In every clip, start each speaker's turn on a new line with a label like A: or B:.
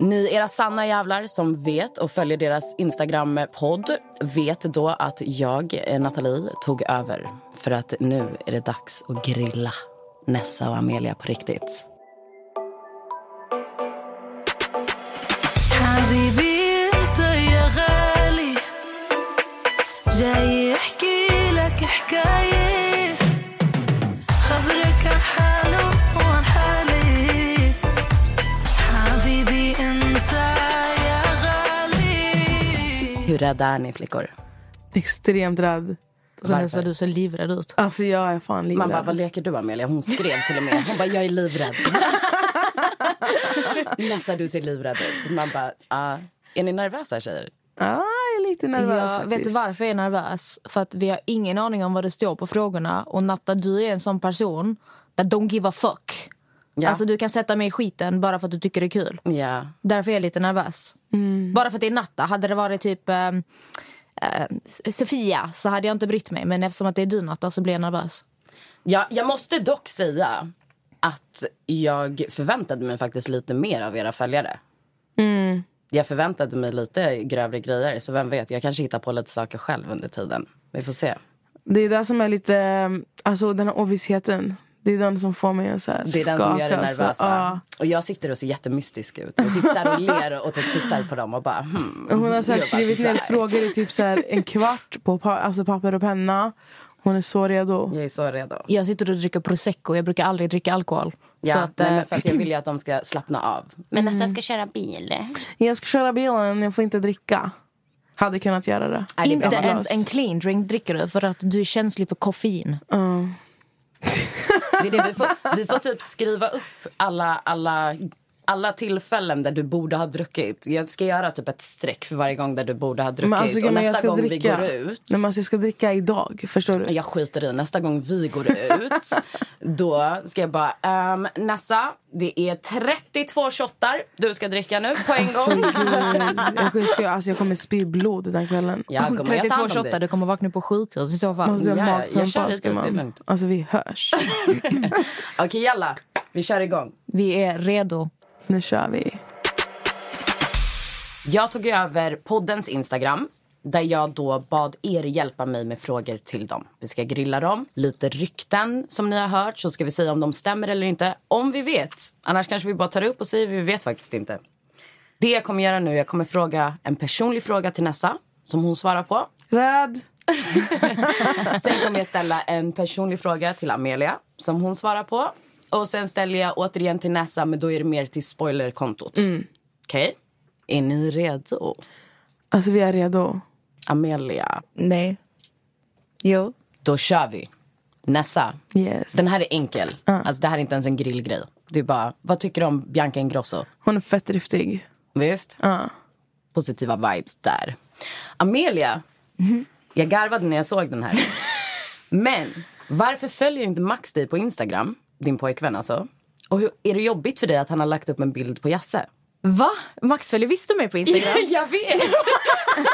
A: Ni era sanna jävlar som vet och följer deras Instagram-podd vet då att jag, eh, Nathalie, tog över. För att nu är det dags att grilla Nessa och Amelia på riktigt.
B: حبيبي انت يا غالي جاي احكي لك حكاية خبرك عن حاله وعن حالي حبيبي انت يا غالي
A: Hur rädda är ni flickor?
C: Extremt rädd.
A: Varför?
D: du ser livrädd ut.
C: Alltså jag är fan
A: Man
C: livrädd.
A: bara, vad leker du Amelia? Hon skrev till och med. Hon bara, jag är livrädd. Nessa, du ser livrädd ut. Man bara, ah, är ni nervösa tjejer?
C: ah, jag är lite nervös
D: Jag
C: faktiskt.
D: vet du varför jag är nervös? För att vi har ingen aning om vad det står på frågorna. Och Natta, du är en sån person där don't give a fuck.
A: Ja.
D: Alltså, du kan sätta mig i skiten bara för att du tycker det är kul.
A: Ja.
D: Därför är jag lite nervös. Bara för att det är Natta. Hade det varit typ eh, eh, S- Sofia så hade jag inte brytt mig. Men eftersom att det är du, Natta, så blir jag nervös.
A: Ja, jag måste dock säga att jag förväntade mig faktiskt lite mer av era följare.
C: Mm.
A: Jag förväntade mig lite grövre grejer, så vem vet, jag kanske hittar på lite saker själv under tiden. Vi får se.
C: Det är det som är lite, eh, alltså den här ovissheten. Det är den som får mig att så här
A: Det är den som gör dig
C: skaka, alltså,
A: nervös.
C: Så,
A: va?
C: ja.
A: Och jag sitter och ser jättemystisk ut. Jag sitter så här och ler och typ tittar på dem och bara hmm.
C: Hon har så här
A: Jag bara,
C: skrivit ner
A: där.
C: frågor i typ så här en kvart på pa- alltså papper och penna. Hon är så redo.
A: Jag är så redo.
D: Jag sitter och dricker prosecco. Jag brukar aldrig dricka alkohol.
A: Ja,
D: Så att,
A: nej,
D: eh,
A: men för att jag vill ju att de ska slappna av. Men nästa ska köra bil.
C: Jag ska köra bilen, jag får inte dricka. Hade kunnat göra det.
A: Nej, det är
D: inte
A: bra.
D: ens en clean drink dricker du för att du är känslig för koffein.
A: Det är det vi, får, vi får typ skriva upp alla, alla, alla tillfällen där du borde ha druckit. Jag ska göra typ ett streck för varje gång där du borde ha druckit.
C: Men alltså,
A: och
C: men jag
A: nästa
C: ska
A: gång
C: dricka.
A: vi går ut...
C: Nej, men alltså, jag ska dricka idag, förstår du?
A: Jag skiter i nästa gång vi går ut. då ska jag bara... ehm, Nessa, det är 32 shottar du ska dricka nu på en
C: Alltså,
A: gång.
C: Jag, jag, ska, alltså, jag kommer spy blod den kvällen.
A: Ja, gumman, jag tar hand
D: 32
A: om dig.
D: shottar, du kommer vakna på sjukhus i så fall.
C: Måste jag
A: Ja,
C: ha
A: ja, jag kör
C: magkramp
A: lite, det är
C: gumman?
A: lugnt.
C: Alltså vi hörs.
A: Okej, jalla. Vi kör igång.
D: Vi är redo.
C: Nu kör vi.
A: Jag tog över poddens Instagram där jag då bad er hjälpa mig med frågor till dem. Vi ska grilla dem. Lite rykten som ni har hört så ska vi säga om de stämmer eller inte. Om vi vet. Annars kanske vi bara tar upp och säger vi vet faktiskt inte. Det jag kommer göra nu, jag kommer fråga en personlig fråga till Nessa som hon svarar på.
C: Rädd.
A: Sen kommer jag ställa en personlig fråga till Amelia som hon svarar på. Och sen ställer jag återigen till Nessa men då är det mer till spoilerkontot. Okej? Är ni redo?
C: Alltså vi är redo.
A: Amelia,
D: Nej. Jo.
A: Då kör vi. Nessa,
C: Yes.
A: den här är enkel. Alltså, det här är inte ens en grillgrej. Det är bara, vad tycker du om Bianca Ingrosso?
C: Hon är fett driftig.
A: Visst? Positiva vibes där. Amelia, Mm-hmm. jag garvade när jag såg den här. Men varför följer inte Max dig på Instagram, din pojkvän alltså? Och hur, är det jobbigt för dig att han har lagt upp en bild på Jasse?
D: Va? Max följer visst du mig på Instagram?
A: jag vet!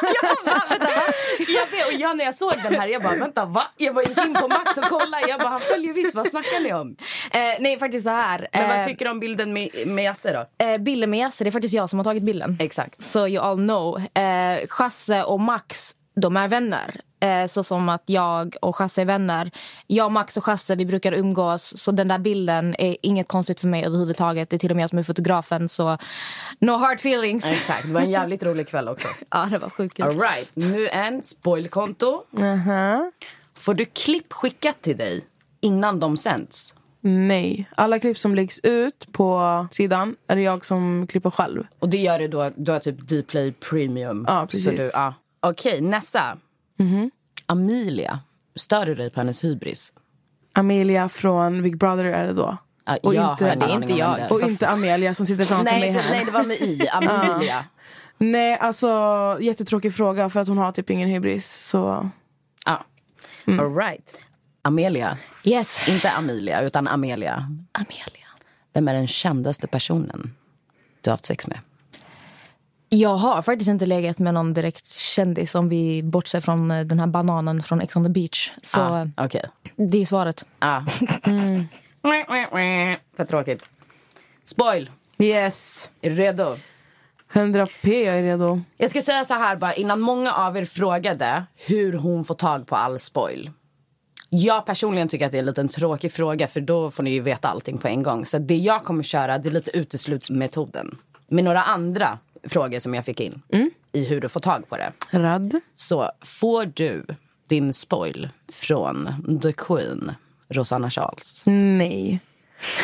A: jag bara, va, vänta, va? Jag vet, och jag när jag såg den här, jag bara, vänta, va? Jag bara gick in på Max och kollade, jag bara, han följer visst, vad snackar ni om?
D: Eh, nej, faktiskt så här.
A: Men vad
D: Eh,
A: tycker du om bilden med, med Jasse då?
D: eh, bilden med Jasse, det är faktiskt jag som har tagit bilden.
A: Exakt.
D: Så you all know. Eh, Chasse och Max, de är vänner. Eh, så som att jag och Chasse är vänner. Jag, Max och Chasse, vi brukar umgås. Så den där bilden är inget konstigt för mig överhuvudtaget. Det är till och med jag som är fotografen, så no hard feelings.
A: Exakt, det var en jävligt rolig kväll också.
D: Ja, det var sjukt kul.
A: All right, nu en spoilkonto. Får du klipp skickat till dig innan de sänds?
C: Nej. Alla klipp som läggs ut på sidan är det jag som klipper själv.
A: Och det gör du då, du har typ Dplay Premium.
C: Ja, precis.
A: Så du, ja. Mhm. Okej, nästa. Amelia, stör du dig på hennes hybris?
C: Amelia från Big Brother är det då.
A: Ja,
C: och
A: jag har
C: inte,
A: ingen aning om vem det är.
C: Och inte Amelia som sitter framför mig
A: Nej, det,
C: här.
A: nej, det var med i. Amelia.
C: Nej, alltså jättetråkig fråga för att hon har typ ingen hybris. Så
A: Mm. Ja. All right. Amelia.
D: Yes.
A: Inte Amelia, utan Amelia.
D: Amelia.
A: Vem är den kändaste personen du har haft sex med?
D: Jag har faktiskt inte legat med någon direkt kändis om vi bortser från eh, den här bananen från Ex on the beach. Så
A: Ah, Okej.
D: eh, det är svaret.
A: Ah. För tråkigt. Spoil.
C: Yes.
A: Är du redo?
C: 100 p, jag är redo.
A: Jag ska säga så här bara, innan många av er frågade hur hon får tag på all spoil. Jag personligen tycker att det är en liten tråkig fråga för då får ni ju veta allting på en gång. Så det jag kommer köra det är lite uteslutsmetoden. Med några andra frågor som jag fick in i hur du får tag på det.
C: Rad.
A: Så får du din spoil från The Queen, Rosanna Charles?
C: Nej.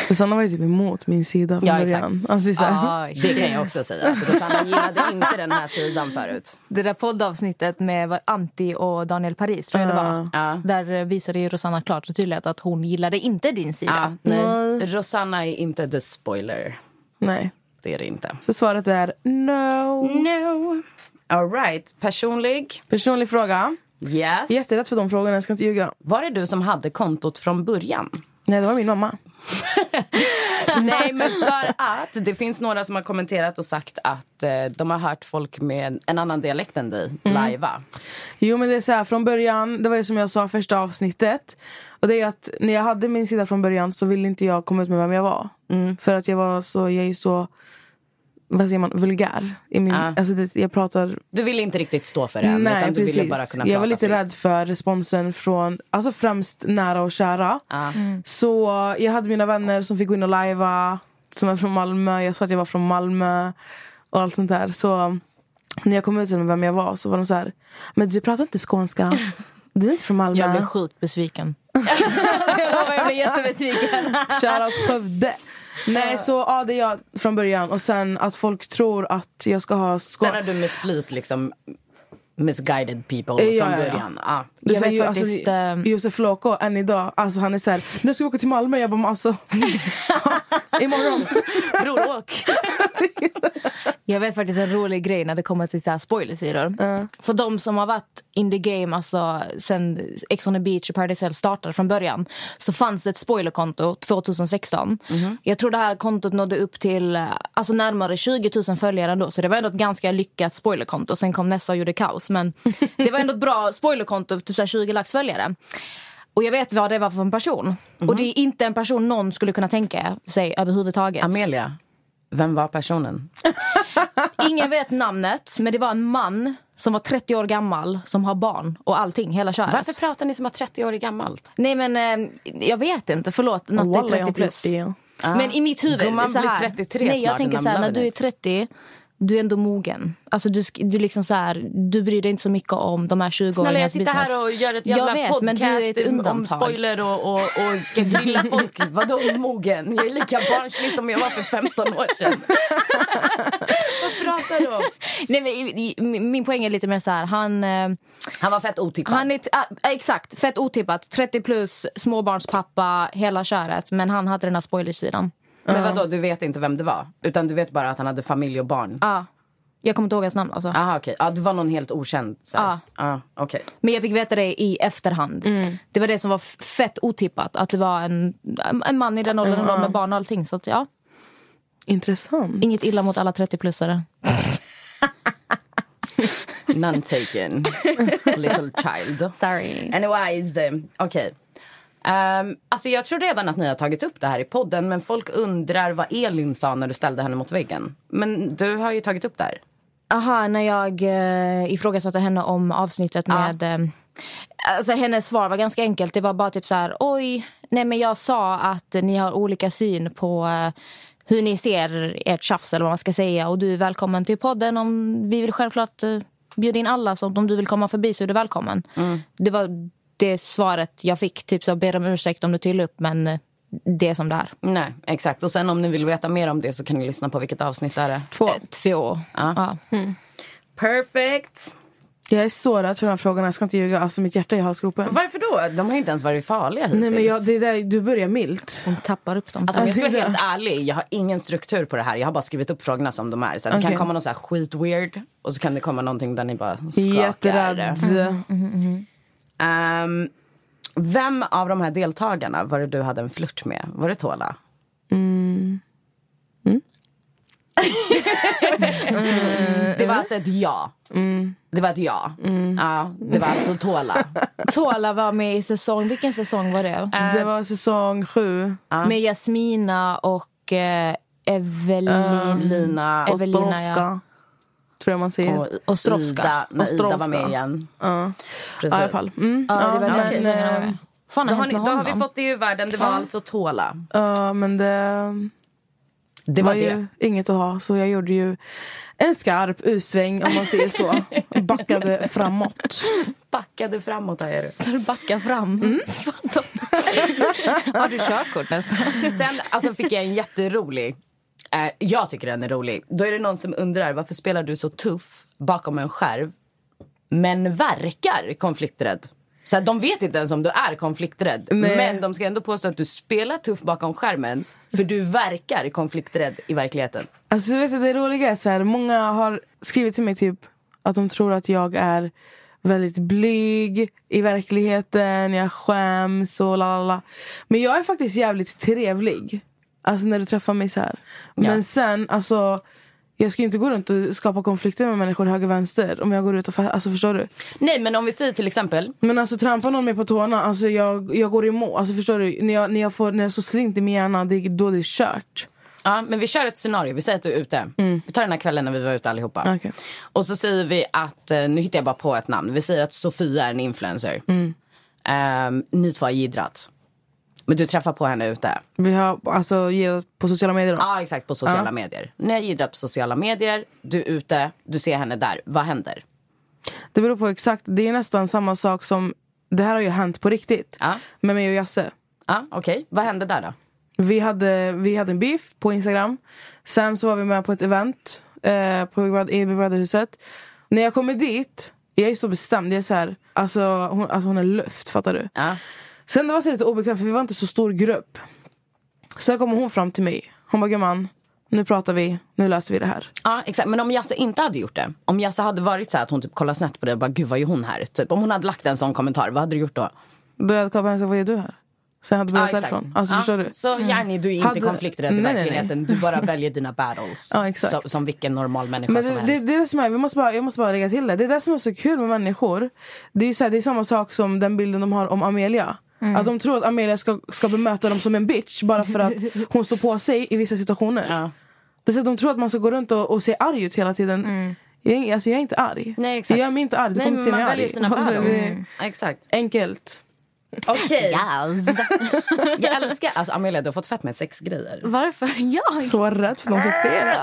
C: Susanna var ju typ emot min sida från början. Alltså, det är så här.
A: det kan jag också säga. att Rosanna gillade inte den här sidan förut.
D: Det där poddavsnittet med vad- Antti och Daniel Paris, tror jag det var. Där eh, visade ju Rosanna klart och tydligt att hon gillade inte din
A: Ja,
D: sida.
A: nej. Rosanna är inte the spoiler.
C: Nej.
A: Det är det inte.
C: Så svaret är no.
A: No. All right. Personlig?
C: Personlig fråga.
A: Yes.
C: Jätterätt för de frågorna, jag ska inte ljuga.
A: Var det du som hade kontot från början?
C: Nej, det var min mamma.
A: Nej, men för att det finns några som har kommenterat och sagt att eh, de har hört folk med en annan dialekt än dig lajva.
C: Jo men det är så här, från början, det var ju som jag sa första avsnittet. Och det är att när jag hade min sida från början så ville inte jag komma ut med vem jag var. För att jag var så, jag är ju så, vad säger man, vulgär. I min, alltså det, jag pratar
A: Du ville inte riktigt stå för den.
C: Nej,
A: utan du
C: precis.
A: ville bara kunna
C: jag var
A: prata
C: lite
A: fritt.
C: rädd för responsen från alltså främst nära och kära.
D: Mm.
C: Så jag hade mina vänner som fick gå in och lajva, som är från Malmö. Jag sa att jag var från Malmö och allt sånt där. Så när jag kom ut med vem jag var så var de så här, men du pratar inte skånska. Du är inte från Malmö.
D: Jag blev sjukt besviken. jag lovar, jag blev jättebesviken.
C: Shoutout Skövde. Nej, så ja, det är jag från början. Och sen att folk tror att jag ska ha
A: Sen
C: skånska.
A: har du med flit liksom misguided people
C: Ja,
A: från
C: ja, ja.
A: början. Ah.
C: Det
D: Jag
C: säger
D: vet
C: ju,
D: faktiskt,
C: alltså,
D: ehm,
C: Josef Låko än idag, alltså han är såhär, nu ska vi åka till Malmö. Jag bara, men alltså, imorgon.
A: Bror, åk!
D: Jag vet faktiskt en rolig grej när det kommer till så här spoilersidor. För de som har varit in the game alltså, sen Ex on the beach och Paradise Hotel startade från början så fanns det ett spoilerkonto 2016. Jag tror det här kontot nådde upp till eh, alltså, närmare 20 000 följare ändå. Så det var ändå ett ganska lyckat spoilerkonto. Sen kom nästa och gjorde kaos. Men det var ändå ett bra spoilerkonto, typ så här 20 lax följare. Och jag vet vad det var för en person. Och det är inte en person någon skulle kunna tänka sig överhuvudtaget.
A: Amelia, vem var personen?
D: Ingen vet namnet, men det var en man som var 30 år gammal som har barn och allting, hela köret.
A: Varför pratar ni som att 30 år är gammalt?
D: Nej men eh, jag vet inte, förlåt
A: Oh,
C: Wallah,
D: Natte
C: jag har
D: 30
C: inte
D: plus.
C: gjort det.
D: Men i mitt huvud,
A: Ah. Gumman
D: så här,
A: blir 33
D: nej jag
A: snart,
D: tänker
A: den
D: så här, när
A: namnlagen.
D: du är 30 du är ändå mogen. Alltså du, sk- du, liksom så här, du bryr dig inte så mycket om de här 20-åringarnas business.
A: Snälla jag sitter här och gör ett jävla
D: Jag vet,
A: podcast
D: men du är ett
A: om- om
D: undantag.
A: spoiler och, och, och ska grilla folk. Vadå mogen? Jag är lika barnslig som jag var för 15 år sedan. Vad
D: typ
A: pratar du om?
D: Nej, men, i- i- min- min poäng är lite mer så här, han... Eh,
A: Han var fett otippad.
D: Han är, t- ah, exakt, fett otippat. 30 plus, småbarnspappa, hela köret. Men han hade den här spoilersidan.
A: Men vadå, du vet inte vem det var? Utan du vet bara att han hade familj och barn?
D: Ja. Jag kommer inte ihåg hans namn. Alltså.
A: Aha, okej. Ja, det var någon helt okänd? så här. Ja, okej.
D: Men jag fick veta det i efterhand. Det var det som var f- fett otippat. Att det var en, en man i den åldern och med barn och allting. Så att, ja.
C: Intressant.
D: Inget illa mot alla 30-plussare.
A: None taken. Little child.
D: Sorry.
A: Anyways, eh, okej. Ehm, alltså jag tror redan att ni har tagit upp det här i podden men folk undrar vad Elin sa när du ställde henne mot väggen. Men du har ju tagit upp det här.
D: Aha, när jag eh, ifrågasatte henne om avsnittet med... Eh, alltså hennes svar var ganska enkelt. Det var bara typ så här, oj, nej men jag sa att ni har olika syn på eh, hur ni ser ert tjafs eller vad man ska säga. Och du är välkommen till podden. Om, vi vill självklart eh, bjuda in alla, så om du vill komma förbi så är du välkommen. Det var det svaret jag fick. Typ så, ber om ursäkt om du tyller upp, men eh, det är som det är.
A: Nej, exakt. Och sen om ni vill veta mer om det så kan ni lyssna på vilket avsnitt det här är.
C: Två.
D: Eh, Två. Ja.
A: Perfect.
C: Jag är så rädd för de här frågorna, jag ska inte ljuga. Alltså mitt hjärta är i halsgropen.
A: Varför då? De har ju inte ens varit farliga hittills.
C: Nej men jag, det där, du börjar milt.
D: Hon tappar upp dem.
A: Alltså, om jag ska vara
C: Alltså,
A: helt ärlig, jag har ingen struktur på det här. Jag har bara skrivit upp frågorna som de är. Så att Det kan
C: Okej.
A: komma någon så här skit weird och så kan det
D: Mm,
A: komma någonting där ni bara skakar.
C: Jätterädd.
A: Ehm, Vem av de här deltagarna var det du hade en flört med? Var det Tola? det var alltså ett ja. Det var ett ja. ja det var alltså Tola.
D: Tola var med i säsong... Vilken säsong var det?
C: Det var säsong sju.
D: Med Jasmina och eh, Evelin...
A: Lina och,
D: Evelina,
C: Ostrovska. Tror jag man säger.
A: och,
D: Ostrovska.
A: Ida, när Ida var
C: Ostrovska.
A: med igen.
C: Ja,
A: Precis.
C: i alla fall. Mm.
D: Ja, det var
C: ja,
D: den
C: men,
D: säsongen han var
C: eh,
D: med. Fan,
A: Då
D: har
A: har,
D: hänt
A: ni,
D: med
A: då har vi
D: honom?
A: fått det ur världen. Det var alltså Tola.
C: eh, ja, men det
A: Det var
C: var
A: det.
C: ju inget att ha. Så jag gjorde ju en skarp U-sväng om man säger så. Backade framåt.
A: Backade framåt. Här. är det.
D: Tar du backa fram? Fan, då- har du körkort nästan?
A: Sen alltså, fick jag en jätterolig... Eh, jag tycker den är rolig. Då är det någon som undrar varför spelar du så tuff bakom en skärv men verkar konflikträdd. Så här, de vet inte ens om du är konflikträdd.
C: Nej.
A: Men de ska ändå påstå att du spelar tuff bakom skärmen för du verkar konflikträdd i verkligheten.
C: Alltså, vet du, det roliga är så här, många har skrivit till mig typ att de tror att jag är väldigt blyg i verkligheten, jag skäms och la la la. Men jag är faktiskt jävligt trevlig. Alltså när du träffar mig så här. Men sen, alltså jag ska ju inte gå runt och skapa konflikter med människor höger och vänster om jag går ut och fe- alltså förstår du?
A: Nej, men om vi säger till exempel...
C: Men alltså trampar någon mig på tårna, alltså jag, jag går emot. Alltså förstår du? När, jag, när, jag får, när det är så slint i min hjärna, det, är då det är kört.
A: Ja, men vi kör ett scenario. Vi säger att du är ute. Vi tar den här kvällen när vi var ute allihopa.
C: Okej.
A: Och så säger vi att, eh, nu hittar jag bara på ett namn. Vi säger att Sofia är en influencer. Ehm, ni två har jiddrat. Men du träffar på henne ute.
C: Vi har alltså gillat på sociala medier då.
A: Ja, exakt. På sociala medier. Ni har jiddrat på sociala medier. Du är ute. Du ser henne där. Vad händer?
C: Det beror på exakt. Det är nästan samma sak som... Det här har ju hänt på riktigt.
A: Ja.
C: Med mig och Jasse.
A: Ja, okej. Vad hände där då?
C: Vi hade, vi hade en beef på Instagram. Sen så var vi med på ett event eh, på Big Brother- i Big Brother-huset. När jag kommer dit, jag är så bestämd. Jag är så här, alltså, hon, alltså hon är luft, fattar du?
A: Ja.
C: Sen det var så lite obekvämt för vi var inte så stor grupp. Sen kommer hon fram till mig. Hon bara, gumman, nu pratar vi, nu löser vi det här.
A: Ja, exakt. Men om Jasse inte hade gjort det? Om Jasse hade varit så här att hon typ kollar snett på dig och bara gud vad gör hon här? Typ, om hon hade lagt en sån kommentar, vad hade du gjort då?
C: Då hade jag kollat på henne och sagt, vad gör du här? Sen hade vi
A: Ja,
C: gått därifrån. Alltså
A: Ja,
C: förstår du?
A: Så Jani, du är inte
C: Hade-
A: konflikträdd i
C: Nej, nej, nej.
A: verkligheten. Du bara väljer dina battles.
C: Ja, exakt.
A: Så, som vilken normal människa
C: Men
A: som
C: det, det,
A: helst.
C: det är det som är, vi måste bara, jag måste bara lägga till det. Det är det som är så kul med människor. Det är, ju så här, det är samma sak som den bilden de har om Amelia.
A: Mm.
C: Att de tror att Amelia ska, ska bemöta dem som en bitch bara för att hon står på sig i vissa situationer.
A: Ja.
C: Det är så att de tror att man ska gå runt och, och se arg ut hela tiden. Jag, är- alltså, jag är inte arg.
A: Mm. Nej, exakt.
C: Jag är inte arg. Du
A: Nej,
C: kommer inte
A: men
C: se
A: man
C: mig
A: väljer
C: arg.
A: sina
C: Fattar du?
A: battles.
C: Det är
A: Mm. Exakt.
C: Enkelt.
A: Okej.
D: Yes.
A: Jag älskar... Alltså Amelia, du har fått fett med sex grejer.
D: Varför jag?
C: Så rätt för någon som skriver.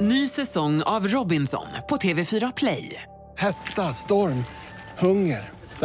E: Ny säsong av Robinson på TV4 Play.
F: Hetta, storm, hunger. Det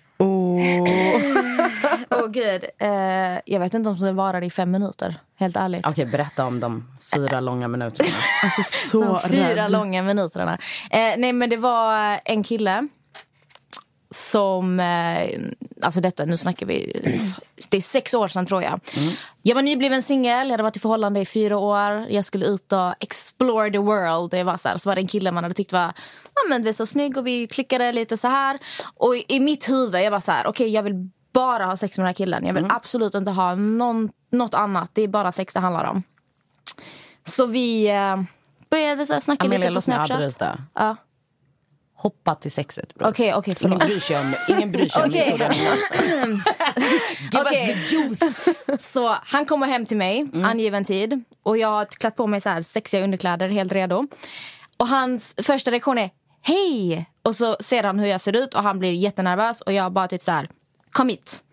D: Åh gud. Eh, jag vet inte om det varade i fem minuter. Helt ärligt.
A: Okej, berätta om de fyra långa minuterna.
C: Alltså så
D: De fyra
C: rädd.
D: långa minuterna. Eh, nej, men det var en kille som... Eh, alltså detta, nu snackar vi... Det är sex år sedan, tror jag. Jag var nybliven singel, jag hade varit i förhållande i fyra år. Jag skulle ut och explore the world. Det var så, här. så var det en kille man hade tyckt var ja, men, det var så snygg och vi klickade lite så här. Och i, i mitt huvud, jag var så här, okej, jag vill bara ha sex med den här killen. Jag vill absolut inte ha någon, något annat. Det är bara sex det handlar om. Så vi eh, började så här snacka
A: Amelia,
D: lite på
A: låt mig
D: Snapchat.
A: avbryta.
D: Ja.
A: Hoppa till sexet, bror.
D: Okej, okej,
A: Ingen
D: förlåt.
A: bryr sig om, ingen bryr sig om
D: Okej.
A: historien. Give
D: Okej.
A: us the juice. Mm.
D: Så han kommer hem till mig angiven tid och jag har klätt på mig så här sexiga underkläder helt redo. Och hans första reaktion är Hej! Och så ser han hur jag ser ut och han blir jättenervös och jag bara typ så här, kom hit.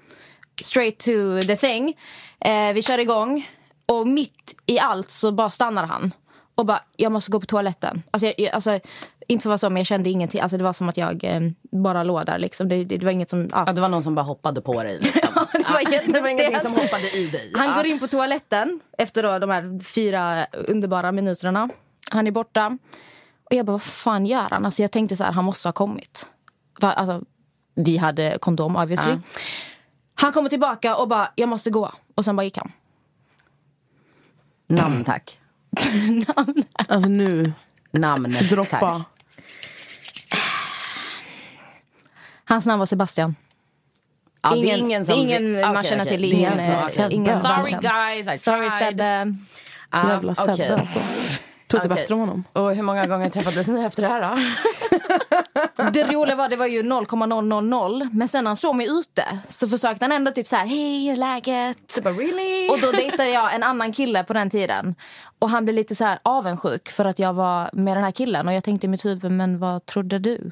D: Straight to the thing. Eh, vi kör igång och mitt i allt så bara stannar han. Och bara, jag måste gå på toaletten. Alltså, jag, jag, alltså, inte för att vara så, men jag kände ingenting. Alltså, det var som att jag eh, bara låg där. Liksom. Det, det, det var inget som... Ja.
A: det var någon som bara hoppade på dig. liksom.
D: det var,
A: Det var ingenting
D: jättestelt.
A: som hoppade i dig.
D: Han
A: Ja.
D: går in på toaletten efter då de här fyra underbara minuterna. Han är borta. Och jag bara, vad fan gör han? Alltså jag tänkte så här, han måste ha kommit. För, alltså, vi hade kondom obviously.
A: Ja.
D: Han kommer tillbaka och bara, jag måste gå. Och sen bara gick han.
A: Namn tack.
C: Alltså nu.
A: Namn
C: Droppa.
A: tack.
D: Hans namn var Sebastian.
A: Ja, det är
D: ingen
A: ingen som-
D: ingen man
A: okej,
D: känner
A: okej.
D: till.
A: Det är
D: Ingen,
A: ingen som-
D: eh,
A: okej.
D: ingen som
A: Sorry,
D: känner.
A: guys, I
D: Sorry
A: tried.
D: Sebbe.
A: Ah,
C: Jävla Sebbe,
A: okej.
C: alltså. Trodde
A: Okej.
C: bättre om honom.
A: Och hur många gånger träffades ni efter det här då?
D: Det roliga var det var ju 0,000 men sen när han såg mig ute så försökte han ändå typ så här hej hur är läget?
A: really?
D: Och då dejtade jag en annan kille på den tiden och han blev lite så här avundsjuk för att jag var med den här killen och jag tänkte i mitt huvud men vad trodde du?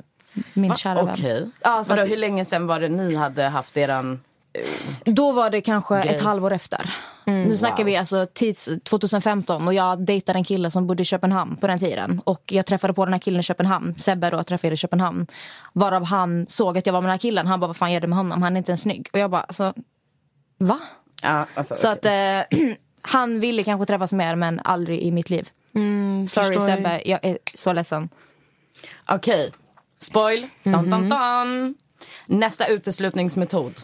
D: Min kära vän.
A: Okej.
D: Ja, så
A: Vadå,
D: att-
A: Hur länge sen var det ni hade haft eran...
D: Då var det kanske
A: Grej.
D: ett halvår efter. nu snackar
A: Wow.
D: vi alltså tids 2015 och jag dejtade en kille som bodde i Köpenhamn på den tiden. Och jag träffade på den här killen i Köpenhamn, Sebbe då träffade jag i Köpenhamn. Varav han såg att jag var med den här killen. Han bara, vad fan gör du med honom? Han är inte ens snygg. Och jag bara, alltså, va?
A: Ja, alltså,
D: Så
A: okej.
D: att eh, han ville kanske träffas mer men aldrig i mitt liv. Sorry
A: förstår dig.
D: Sebbe, jag är så ledsen.
A: Okej. Spoil. Dun,
C: Mhm.
A: dun, dun. Nästa uteslutningsmetod.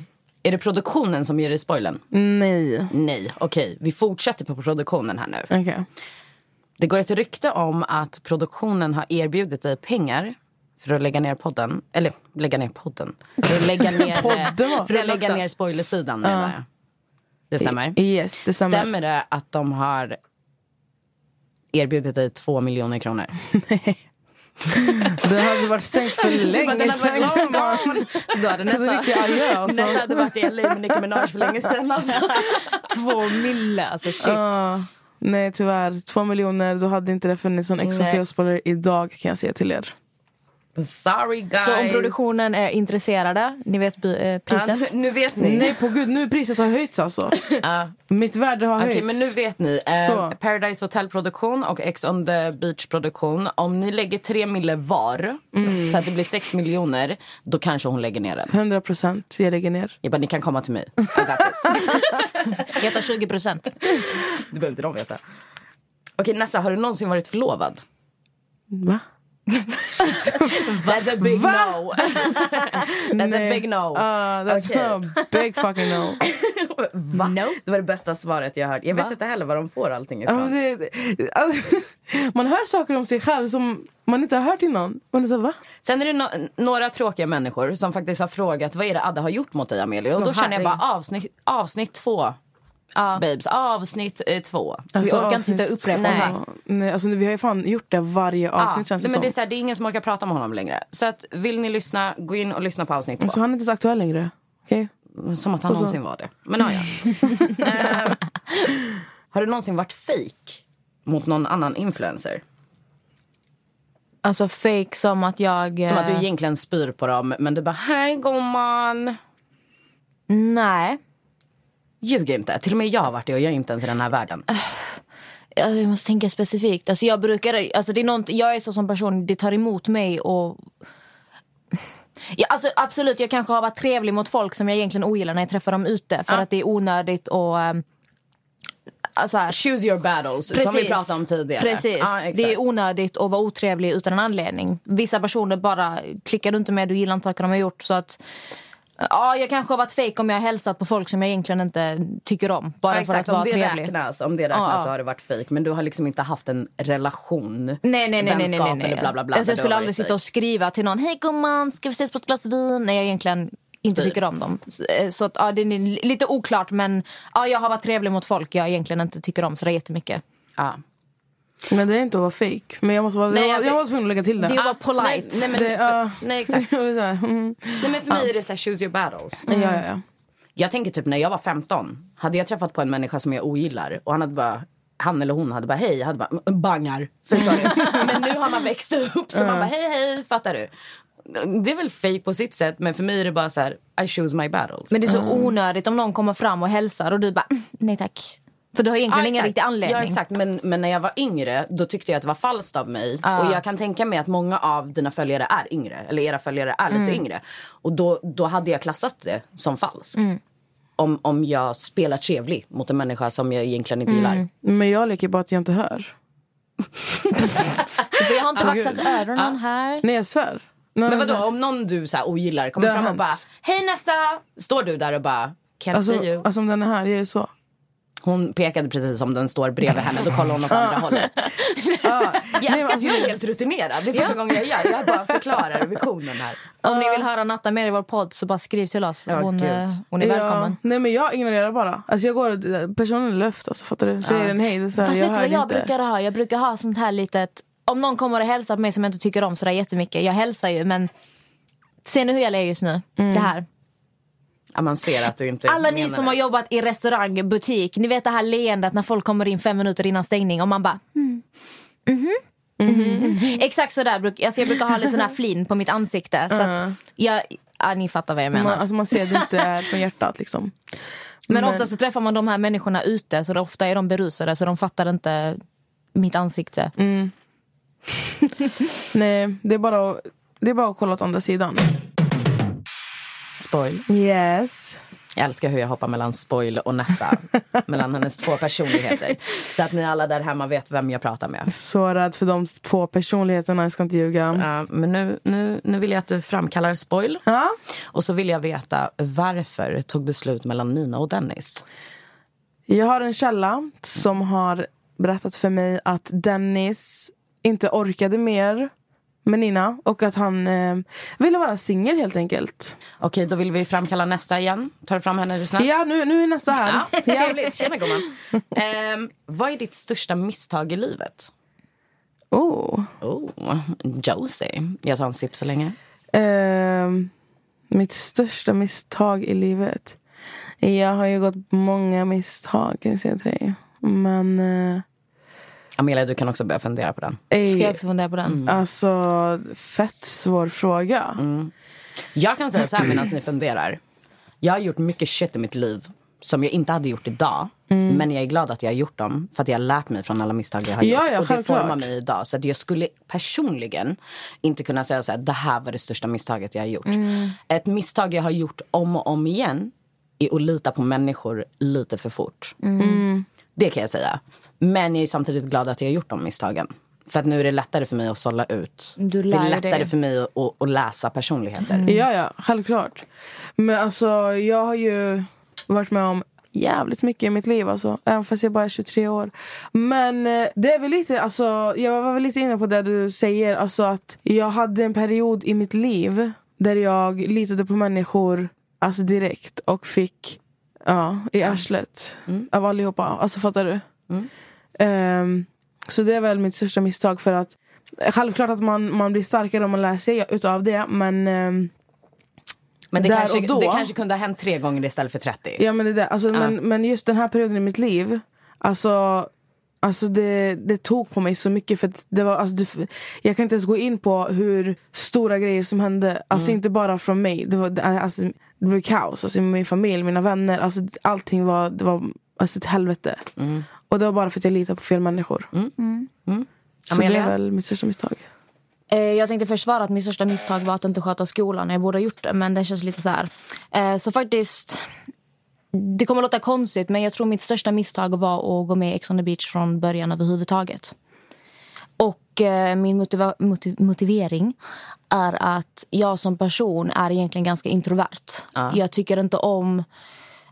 A: Är det produktionen som ger dig spoilen?
C: Mm. Nej.
A: Nej. Okej, vi fortsätter på produktionen här nu.
C: Okej.
A: Det går ett rykte om att produktionen har erbjudit dig pengar för att lägga ner podden. Eller lägga ner podden. För att lägga ner,
C: Podden?
A: för att lägga ner spoilersidan menar jag. Det stämmer.
C: Yes, det stämmer.
A: Stämmer det att de har erbjudit dig två miljoner kronor?
C: Det hade varit sänkt för
A: Typ
C: länge sedan.
D: Då hade
C: Så det gick jag adjö, alltså.
D: Nästa hade varit i LA med Nicki Minaj för länge sedan. Alltså. Två mille, alltså shit.
C: Ah, nej tyvärr, två miljoner då hade inte det funnits någon Ex on
D: Nej.
C: P-spelare idag kan jag säga till er.
A: Sorry guys.
D: Så om produktionen är intresserade, ni vet by- eh,
A: Ja,
D: priset.
A: nu, nu vet ni.
C: Nej på gud, nu priset har höjts alltså.
A: Ja.
C: Mitt värde har
A: Okej,
C: höjts.
A: men nu vet ni. Eh,
C: Så.
A: Paradise Hotel-produktion och Ex on the Beach-produktion. Om ni lägger tre mille var,
C: Mm.
A: så att det blir sex miljoner, då kanske hon lägger ner den.
C: 100 procent, jag lägger ner.
A: Jag bara, ni kan komma till mig. I got this.
D: Jag tar 20 procent.
A: Det behöver inte de veta. Okej, Nessa, har du någonsin varit förlovad?
C: Va?
A: That's a big no. That's a big no.
C: Ah, that's
A: Okej.
C: a big fucking no.
A: Va? Det var det bästa svaret jag hört. Jag vet inte heller var de får allting
C: Ja,
A: ifrån.
C: men det, det- alltså, man hör saker om sig själv som man inte har hört innan. Man är så här, va?
A: Sen är det no- några tråkiga människor som faktiskt har frågat vad är det Adde har gjort mot dig Amelie? Och då
D: Åh,
A: känner jag
D: herregud.
A: bara avsnitt, avsnitt två. Babes, avsnitt eh, två.
C: Alltså,
D: orkar inte sitta och
C: avsnitt
D: upprepa
C: två.
D: oss här.
C: Nej, alltså, nu- vi har ju fan gjort det varje avsnitt
A: Ja,
C: känns det
A: nej, men det, är
C: som.
A: så här, det är ingen som orkar prata med honom längre. Så att, vill ni lyssna, gå in och lyssna på avsnitt två.
C: Så han är inte så aktuell längre. Okej? Alltså,
A: Som att han någonsin var det. Men ja, ja. Eh, Har du någonsin varit fake mot någon annan influencer?
D: Alltså fake som att jag... eh,
A: Som att du egentligen spyr på dem, men du bara hej gumman.
D: Nej.
A: Ljug inte. Till och med jag har varit det och jag är inte ens i den här världen.
D: Alltså, Jag måste tänka specifikt. Alltså, jag, brukar, alltså, det är nånt, jag är så som person, det tar emot mig och... Ja, alltså, absolut, jag kanske har varit trevlig mot folk som jag egentligen ogillar när jag träffar dem ute för att det är onödigt och... ehm, Alltså, här,
A: Choose your battles, som vi pratade om tidigare.
D: Precis.
A: Ja, exakt.
D: det är onödigt att vara otrevlig utan en anledning. Vissa personer bara klickar du inte med, du gillar inte saker de har gjort. Så att, ja, jag kanske har varit fejk om jag har hälsat på folk som jag egentligen inte tycker om. Bara
A: Ja,
D: för att
A: exakt.
D: vara
A: om det
D: trevlig.
A: Räknas, om det räknas
D: Ja, ja.
A: så har det varit fejk. Men du har liksom inte haft en relation,
D: Nej, nej, nej, nej, nej,
A: vänskap
D: nej, nej.
A: eller bla bla bla.
D: alltså,
A: där
D: jag
A: du
D: skulle
A: har
D: aldrig
A: varit
D: sitta och
A: fake.
D: skriva till någon Hej gumman, ska vi ses på ett glas vin? När jag egentligen inte
A: Spyr.
D: tycker om dem. Så, eh, Så att, ja, det är li- lite oklart men ja, jag har varit trevlig mot folk jag egentligen inte tycker om så det är jättemycket.
A: Ja.
C: Men det är inte att vara fake. Men jag måste vara,
A: Nej,
C: jag, var-
A: alltså-
C: jag var tvungen att lägga till det.
D: Det är att
A: Ah,
D: vara polite.
A: Nej, nej, men,
C: Det,
A: för,
C: ja.
A: nej exakt.
C: Jag var så här, mm.
A: Nej, men för mig är det så här, choose your battles.
D: Mm.
C: Ja, ja, ja.
A: Jag tänker typ när jag var 15, hade jag träffat på en människa som jag ogillar och han hade bara han eller hon hade bara hej, jag hade bara "Mm, bangar. Förstår du? Men nu har man växt upp så man bara hej hej, fattar du? det är väl fake på sitt sätt, men för mig är det bara så här, I choose my battles.
D: Men det är så
A: Mm.
D: onödigt om någon kommer fram och hälsar och du bara "Mm, nej tack. För du har egentligen
A: Ja,
D: ingen
A: exakt.
D: riktig anledning.
A: Ja, exakt. Men, men när jag var yngre då tyckte jag att det var falskt av mig.
D: Ja.
C: Ah.
A: Och jag kan tänka mig att många av dina följare är yngre. Eller era följare är lite
D: Mm.
A: yngre. Och då, då hade jag klassat det som falskt.
C: Mm.
A: Om, om jag spelar trevlig mot en människa som jag egentligen inte gillar.
C: Men jag leker bara att jag inte hör.
D: För jag har inte
A: Åh,
D: vaxat
A: gud.
D: öronen
A: Ja.
D: här.
C: Nej jag svär.
A: men vadå, om någon du så här, ogillar kommer
C: Alltså- Det har
A: fram och bara
C: hänt.
A: Hej Nessa! Står du där och bara Can't
C: Alltså,
A: see you.
C: alltså om den är här, jag är så.
A: Hon pekade precis som den står bredvid henne. Då kollar hon åt
C: Ah.
A: andra hållet. Jag älskar
C: alltså-
A: att jag är helt rutinerad. Det är första
D: Ja.
A: gången jag gör. Jag bara förklarar visionen här.
D: Om ni vill höra Natta mer i vår podd så bara skriv till oss. Hon, eh, hon är välkommen.
C: Nej men jag ignorerar bara. Alltså jag går, personen är löft alltså fattar du? Säger den hej, det är så här,
D: Fast
C: jag
D: vet du
C: hör
D: vad jag
C: inte.
D: brukar ha? Jag brukar ha sånt här litet... Om någon kommer och hälsar på mig som jag inte tycker om sådär jättemycket. Jag hälsar ju men... Ser ni hur jag ler just nu? Det här.
A: Ja, man ser att du inte
D: Alla ni
A: menar
D: som
A: det.
D: har jobbat i restaurang, butik. Ni vet det här leendet när folk kommer in fem minuter innan stängning och man bara... Mm. Mhm. Mhm. Exakt sådär. bruk- Alltså jag brukar ha lite sån här flin på mitt ansikte. Så att
C: Mm.
D: jag, ja, ni fattar vad jag menar.
C: Man, alltså man ser att det inte är från hjärtat liksom.
D: Men
C: Men-
D: ofta så träffar man de här människorna ute så ofta är de berusade så de fattar inte mitt ansikte.
C: Nej, det är bara att, det är bara att kolla åt andra sidan.
A: Spoil.
C: Yes.
A: Jag älskar hur jag hoppar mellan spoil och Nessa. mellan hennes två personligheter. Så att ni alla där hemma vet vem jag pratar med.
C: Så rädd för de två personligheterna, jag ska inte ljuga.
A: Ja, men nu, nu, nu vill jag att du framkallar spoil. Och så vill jag veta varför tog det slut mellan Nina och Dennis?
C: Jag har en källa som har berättat för mig att Dennis inte orkade mer med Nina och att han eh, ville vara singel helt enkelt.
A: Okej, då vill vi framkalla nästa igen. Tar du fram henne är du snäll?
C: Ja, nu, nu är nästa här.
A: Ja, trevligt. Tjena, gumman. Ehm, vad är ditt största misstag i livet?
C: Oh.
A: oh Josie. Jag tar en sipp så länge.
C: Ehm, mitt största misstag i livet? Jag har ju gått på många misstag, kan jag säga till dig. Men... Eh,
A: Amelia, du kan också börja fundera på den.
C: ej,
D: fundera på den?
C: Alltså, fett svår fråga.
A: Jag kan säga så här medan ni funderar. Jag har gjort mycket shit i mitt liv som jag inte hade gjort idag.
C: Mm.
A: Men jag är glad att jag har gjort dem för att jag har lärt mig från alla misstag jag har
C: Ja,
A: gjort.
C: ja,
A: och det
C: självklart.
A: formar mig idag. Så att jag skulle personligen inte kunna säga så här, det här var det största misstaget jag har gjort.
D: Mm.
A: Ett misstag jag har gjort om och om igen är att lita på människor lite för fort.
C: Mm.
A: Det kan jag säga. Men jag är samtidigt glad att jag har gjort de misstagen. För att nu är det lättare för mig att sålla ut.
D: Du
A: det
D: lär
A: är
D: dig.
A: lättare för mig att, att, att läsa personligheter.
C: Ja, ja, självklart. Men alltså, jag har ju varit med om jävligt mycket i mitt liv, alltså, även fast jag bara är 23 år. Men eh, det är väl lite, alltså, jag var väl lite inne på det du säger, alltså att jag hade en period i mitt liv där jag litade på människor alltså direkt och fick ja, i arslet av allihopa. Alltså fattar du? Ehm, så det är väl mitt största misstag. för att Självklart att man, man blir starkare om man lär sig utav det, men... ehm,
A: Men det,
C: där
A: kanske,
C: och då,
A: det kanske kunde ha hänt tre gånger istället för 30.
C: Ja men det är det. Alltså,
A: Ja.
C: men, men just den här perioden i mitt liv, alltså, alltså det, det tog på mig så mycket. För att det var, alltså, det, jag kan inte ens gå in på hur stora grejer som hände. Alltså
D: Mm.
C: inte bara från mig. Det, var, det- alltså, det blev kaos. Alltså, i min familj, mina vänner. Alltså, allting var, det var alltså, ett helvete.
D: Mm.
C: Och det var bara för att jag litade på fel människor. Så det
D: Amelia?
C: är väl mitt största misstag.
D: Eh, Jag tänkte försvara att mitt största misstag var att inte sköta skolan. Jag borde ha gjort det, men det känns lite så här. Eh, Så faktiskt, det kommer låta konstigt, men jag tror mitt största misstag var att gå med i Ex on the beach från början överhuvudtaget. Och eh, min motiva- motiv- motivering är att jag som person är egentligen ganska introvert.
G: Ja.
D: Jag tycker inte om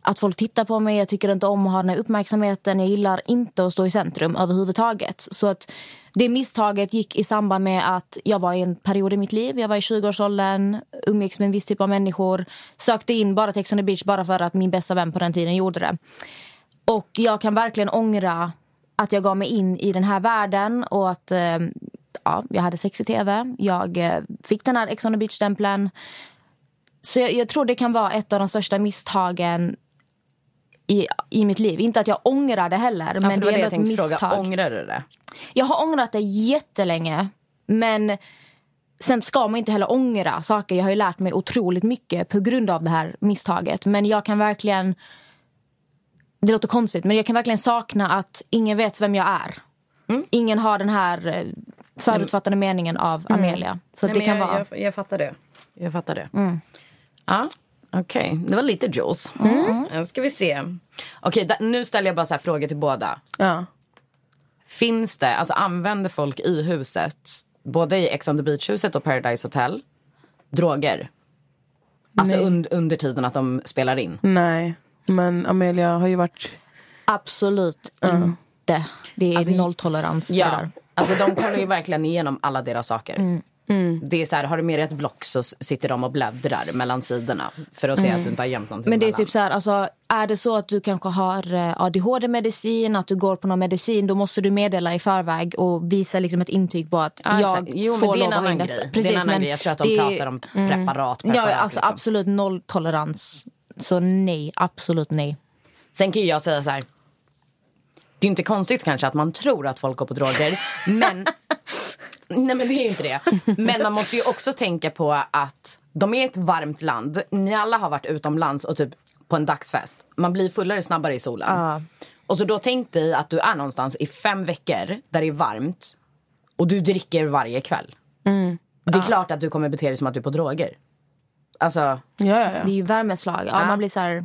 D: att folk tittar på mig. Jag tycker inte om att ha den här uppmärksamheten. Jag gillar inte att stå i centrum överhuvudtaget. Så att det misstaget gick i samband med att jag var i en period i mitt liv. Jag var i 20-årsåldern, umgicks med en viss typ av människor. Sökte in bara till Ex on the beach bara för att min bästa vän på den tiden gjorde det. Och jag kan verkligen ångra att jag gav mig in i den här världen och att eh, ja, jag hade sex i tv. Jag eh, fick den här Ex on the beach-stämpeln. Så jag, jag tror det kan vara ett av de största misstagen i, i mitt liv. Inte att jag ångrar det heller,
A: Ja, för
D: men
A: det
D: det
A: var det
D: är
A: jag
D: ändå ett
A: tänkte
D: misstag.
A: fråga. Ångrar du det?
D: Jag har ångrat det jättelänge. Men Sen ska man inte heller ångra saker. Jag har ju lärt mig otroligt mycket på grund av det här misstaget. Men jag kan verkligen... Det låter konstigt, men jag kan verkligen sakna att ingen vet vem jag är. Ingen har den här eh, förutfattade meningen av
A: Mm. Mm.
D: Amelia. Så
A: Nej,
D: att det
A: men
D: kan
A: jag,
D: vara...
A: Jag, jag fattar det. Jag fattar det.
D: Mm.
A: Ja, okej. Det var lite Jules. Mm. Nu ska vi se. Okej, da- nu ställer jag bara så här frågor till båda.
C: Ja.
A: Finns det, alltså använder folk i huset, både i Ex on the Beach-huset och Paradise Hotel, droger? Alltså
C: Nej.
A: und, under tiden att de spelar in?
C: Nej, men Amelia har ju varit...
D: Absolut inte. Det är nolltolerans
A: Alltså, Ja, Mm.
D: på det där.
A: alltså de kollar ju verkligen igenom alla deras saker.
D: Mm.
A: Det är så här, har du med dig ett block så s- sitter de och bläddrar mellan sidorna för att se
D: Mm.
A: att du inte har gömt någonting
D: Men det är
A: mellan.
D: typ så här, alltså, är det så att du kanske har eh, ADHD-medicin, att du går på någon medicin, då måste du meddela i förväg och visa liksom ett intyg på att
A: Ja,
D: jag
A: exakt. Jo, men
D: får
A: det är
D: lov
A: en
D: att ha
A: annan
D: in
A: grej. Det
D: detta.
A: är en annan
D: men
A: grej. Jag tror att de
D: det är-
A: pratar om preparat,
D: ja,
A: preparat,
D: alltså
A: liksom.
D: absolut nolltolerans. Så nej, absolut nej.
A: Sen kan ju jag säga så här. Det är inte konstigt kanske att man tror att folk går på droger, men... Nej, men det är inte det. Men man måste ju också tänka på att de är ett varmt land. Ni alla har varit utomlands och typ på en dagsfest. Man blir fullare snabbare i solen. Och så då tänk dig att du är någonstans i fem veckor där det är varmt och du dricker varje kväll.
D: Mm.
A: Det är klart att du kommer bete dig som att du är på droger. Alltså...
D: Det är ju värmeslag. Ja,
A: Ja.
D: Man blir så här...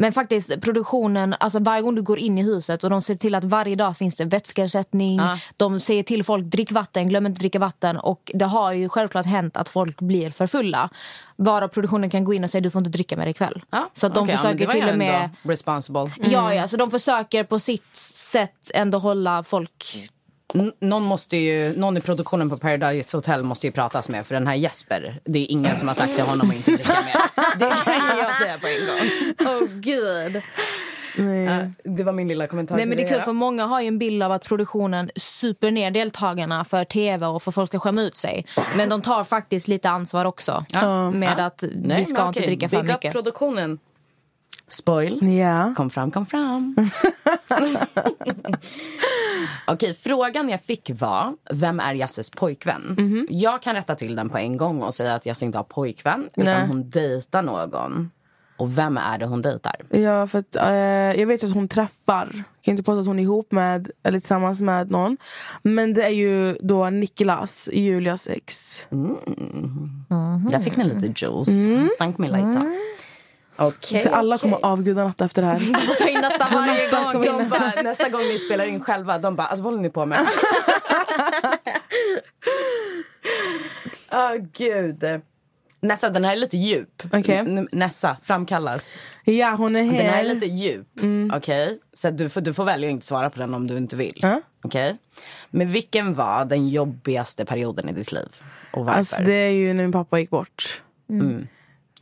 D: Men faktiskt, produktionen, alltså varje gång du går in i huset och de ser till att varje dag finns det vätskeersättning.
A: Ja.
D: De säger till folk drick vatten, glöm inte att dricka vatten. Och det har ju självklart hänt att folk blir för fulla. Varav produktionen kan gå in och säga du får inte dricka mer ikväll. så att de
A: Okej, ja, men
D: försöker
A: det var
D: till
A: ju
D: och med...
A: ändå Mm. Responsible.
D: Ja, ja, så de försöker på sitt sätt ändå hålla folk...
A: N- någon, måste ju, någon i produktionen på Paradise Hotel måste ju pratas med för den här Jesper, det är ingen som har sagt till honom att inte dricka mer. Det kan jag säga på en gång.
D: Åh oh, gud.
A: Eh, det var min lilla kommentar
D: Nej, men det är
A: till
D: kul för många har ju en bild av att produktionen super ner deltagarna för tv och för folk ska skämma ut sig. Men de tar faktiskt lite ansvar också
A: Ja.
D: med
A: Ja.
D: att
A: Nej,
D: vi ska
A: men
D: inte
A: okej,
D: dricka för
A: bygg upp
D: mycket.
A: produktionen. Spoil.
C: Ja.
A: Kom fram, kom fram. Okej, frågan jag fick var vem är Jasses pojkvän?
D: Mhm.
A: Jag kan rätta till den på en gång och säga att Jasse inte har pojkvän utan
C: Nej.
A: hon dejtar någon. Och vem är det hon dejtar?
C: Ja, för att, eh, jag vet ju att hon träffar, jag kan inte påstå att hon är ihop med eller tillsammans med någon. Men det är ju då Niklas, Julias ex.
A: Där fick ni lite juice. Thank me later. Okej,
C: så alla
A: okej.
C: kommer avgudanatta efter det här.
A: Ta in detta varje
C: Nattan ska
A: gång.
C: vara
A: De
C: inne.
A: bara, nästa gång ni spelar in själva, de bara alltså, vad håller ni på med? Åh gud. Nessa, den här är lite djup.
C: Okej.
A: N- Nessa, framkallas.
C: ja, hon är
A: Den här är
C: här.
A: lite djup. Okej? Så att du får, du får välja att inte svara på den om du inte vill. Okej? Men vilken var den jobbigaste perioden i ditt liv? Och varför?
C: Alltså, det är ju när min pappa gick bort.
A: mm.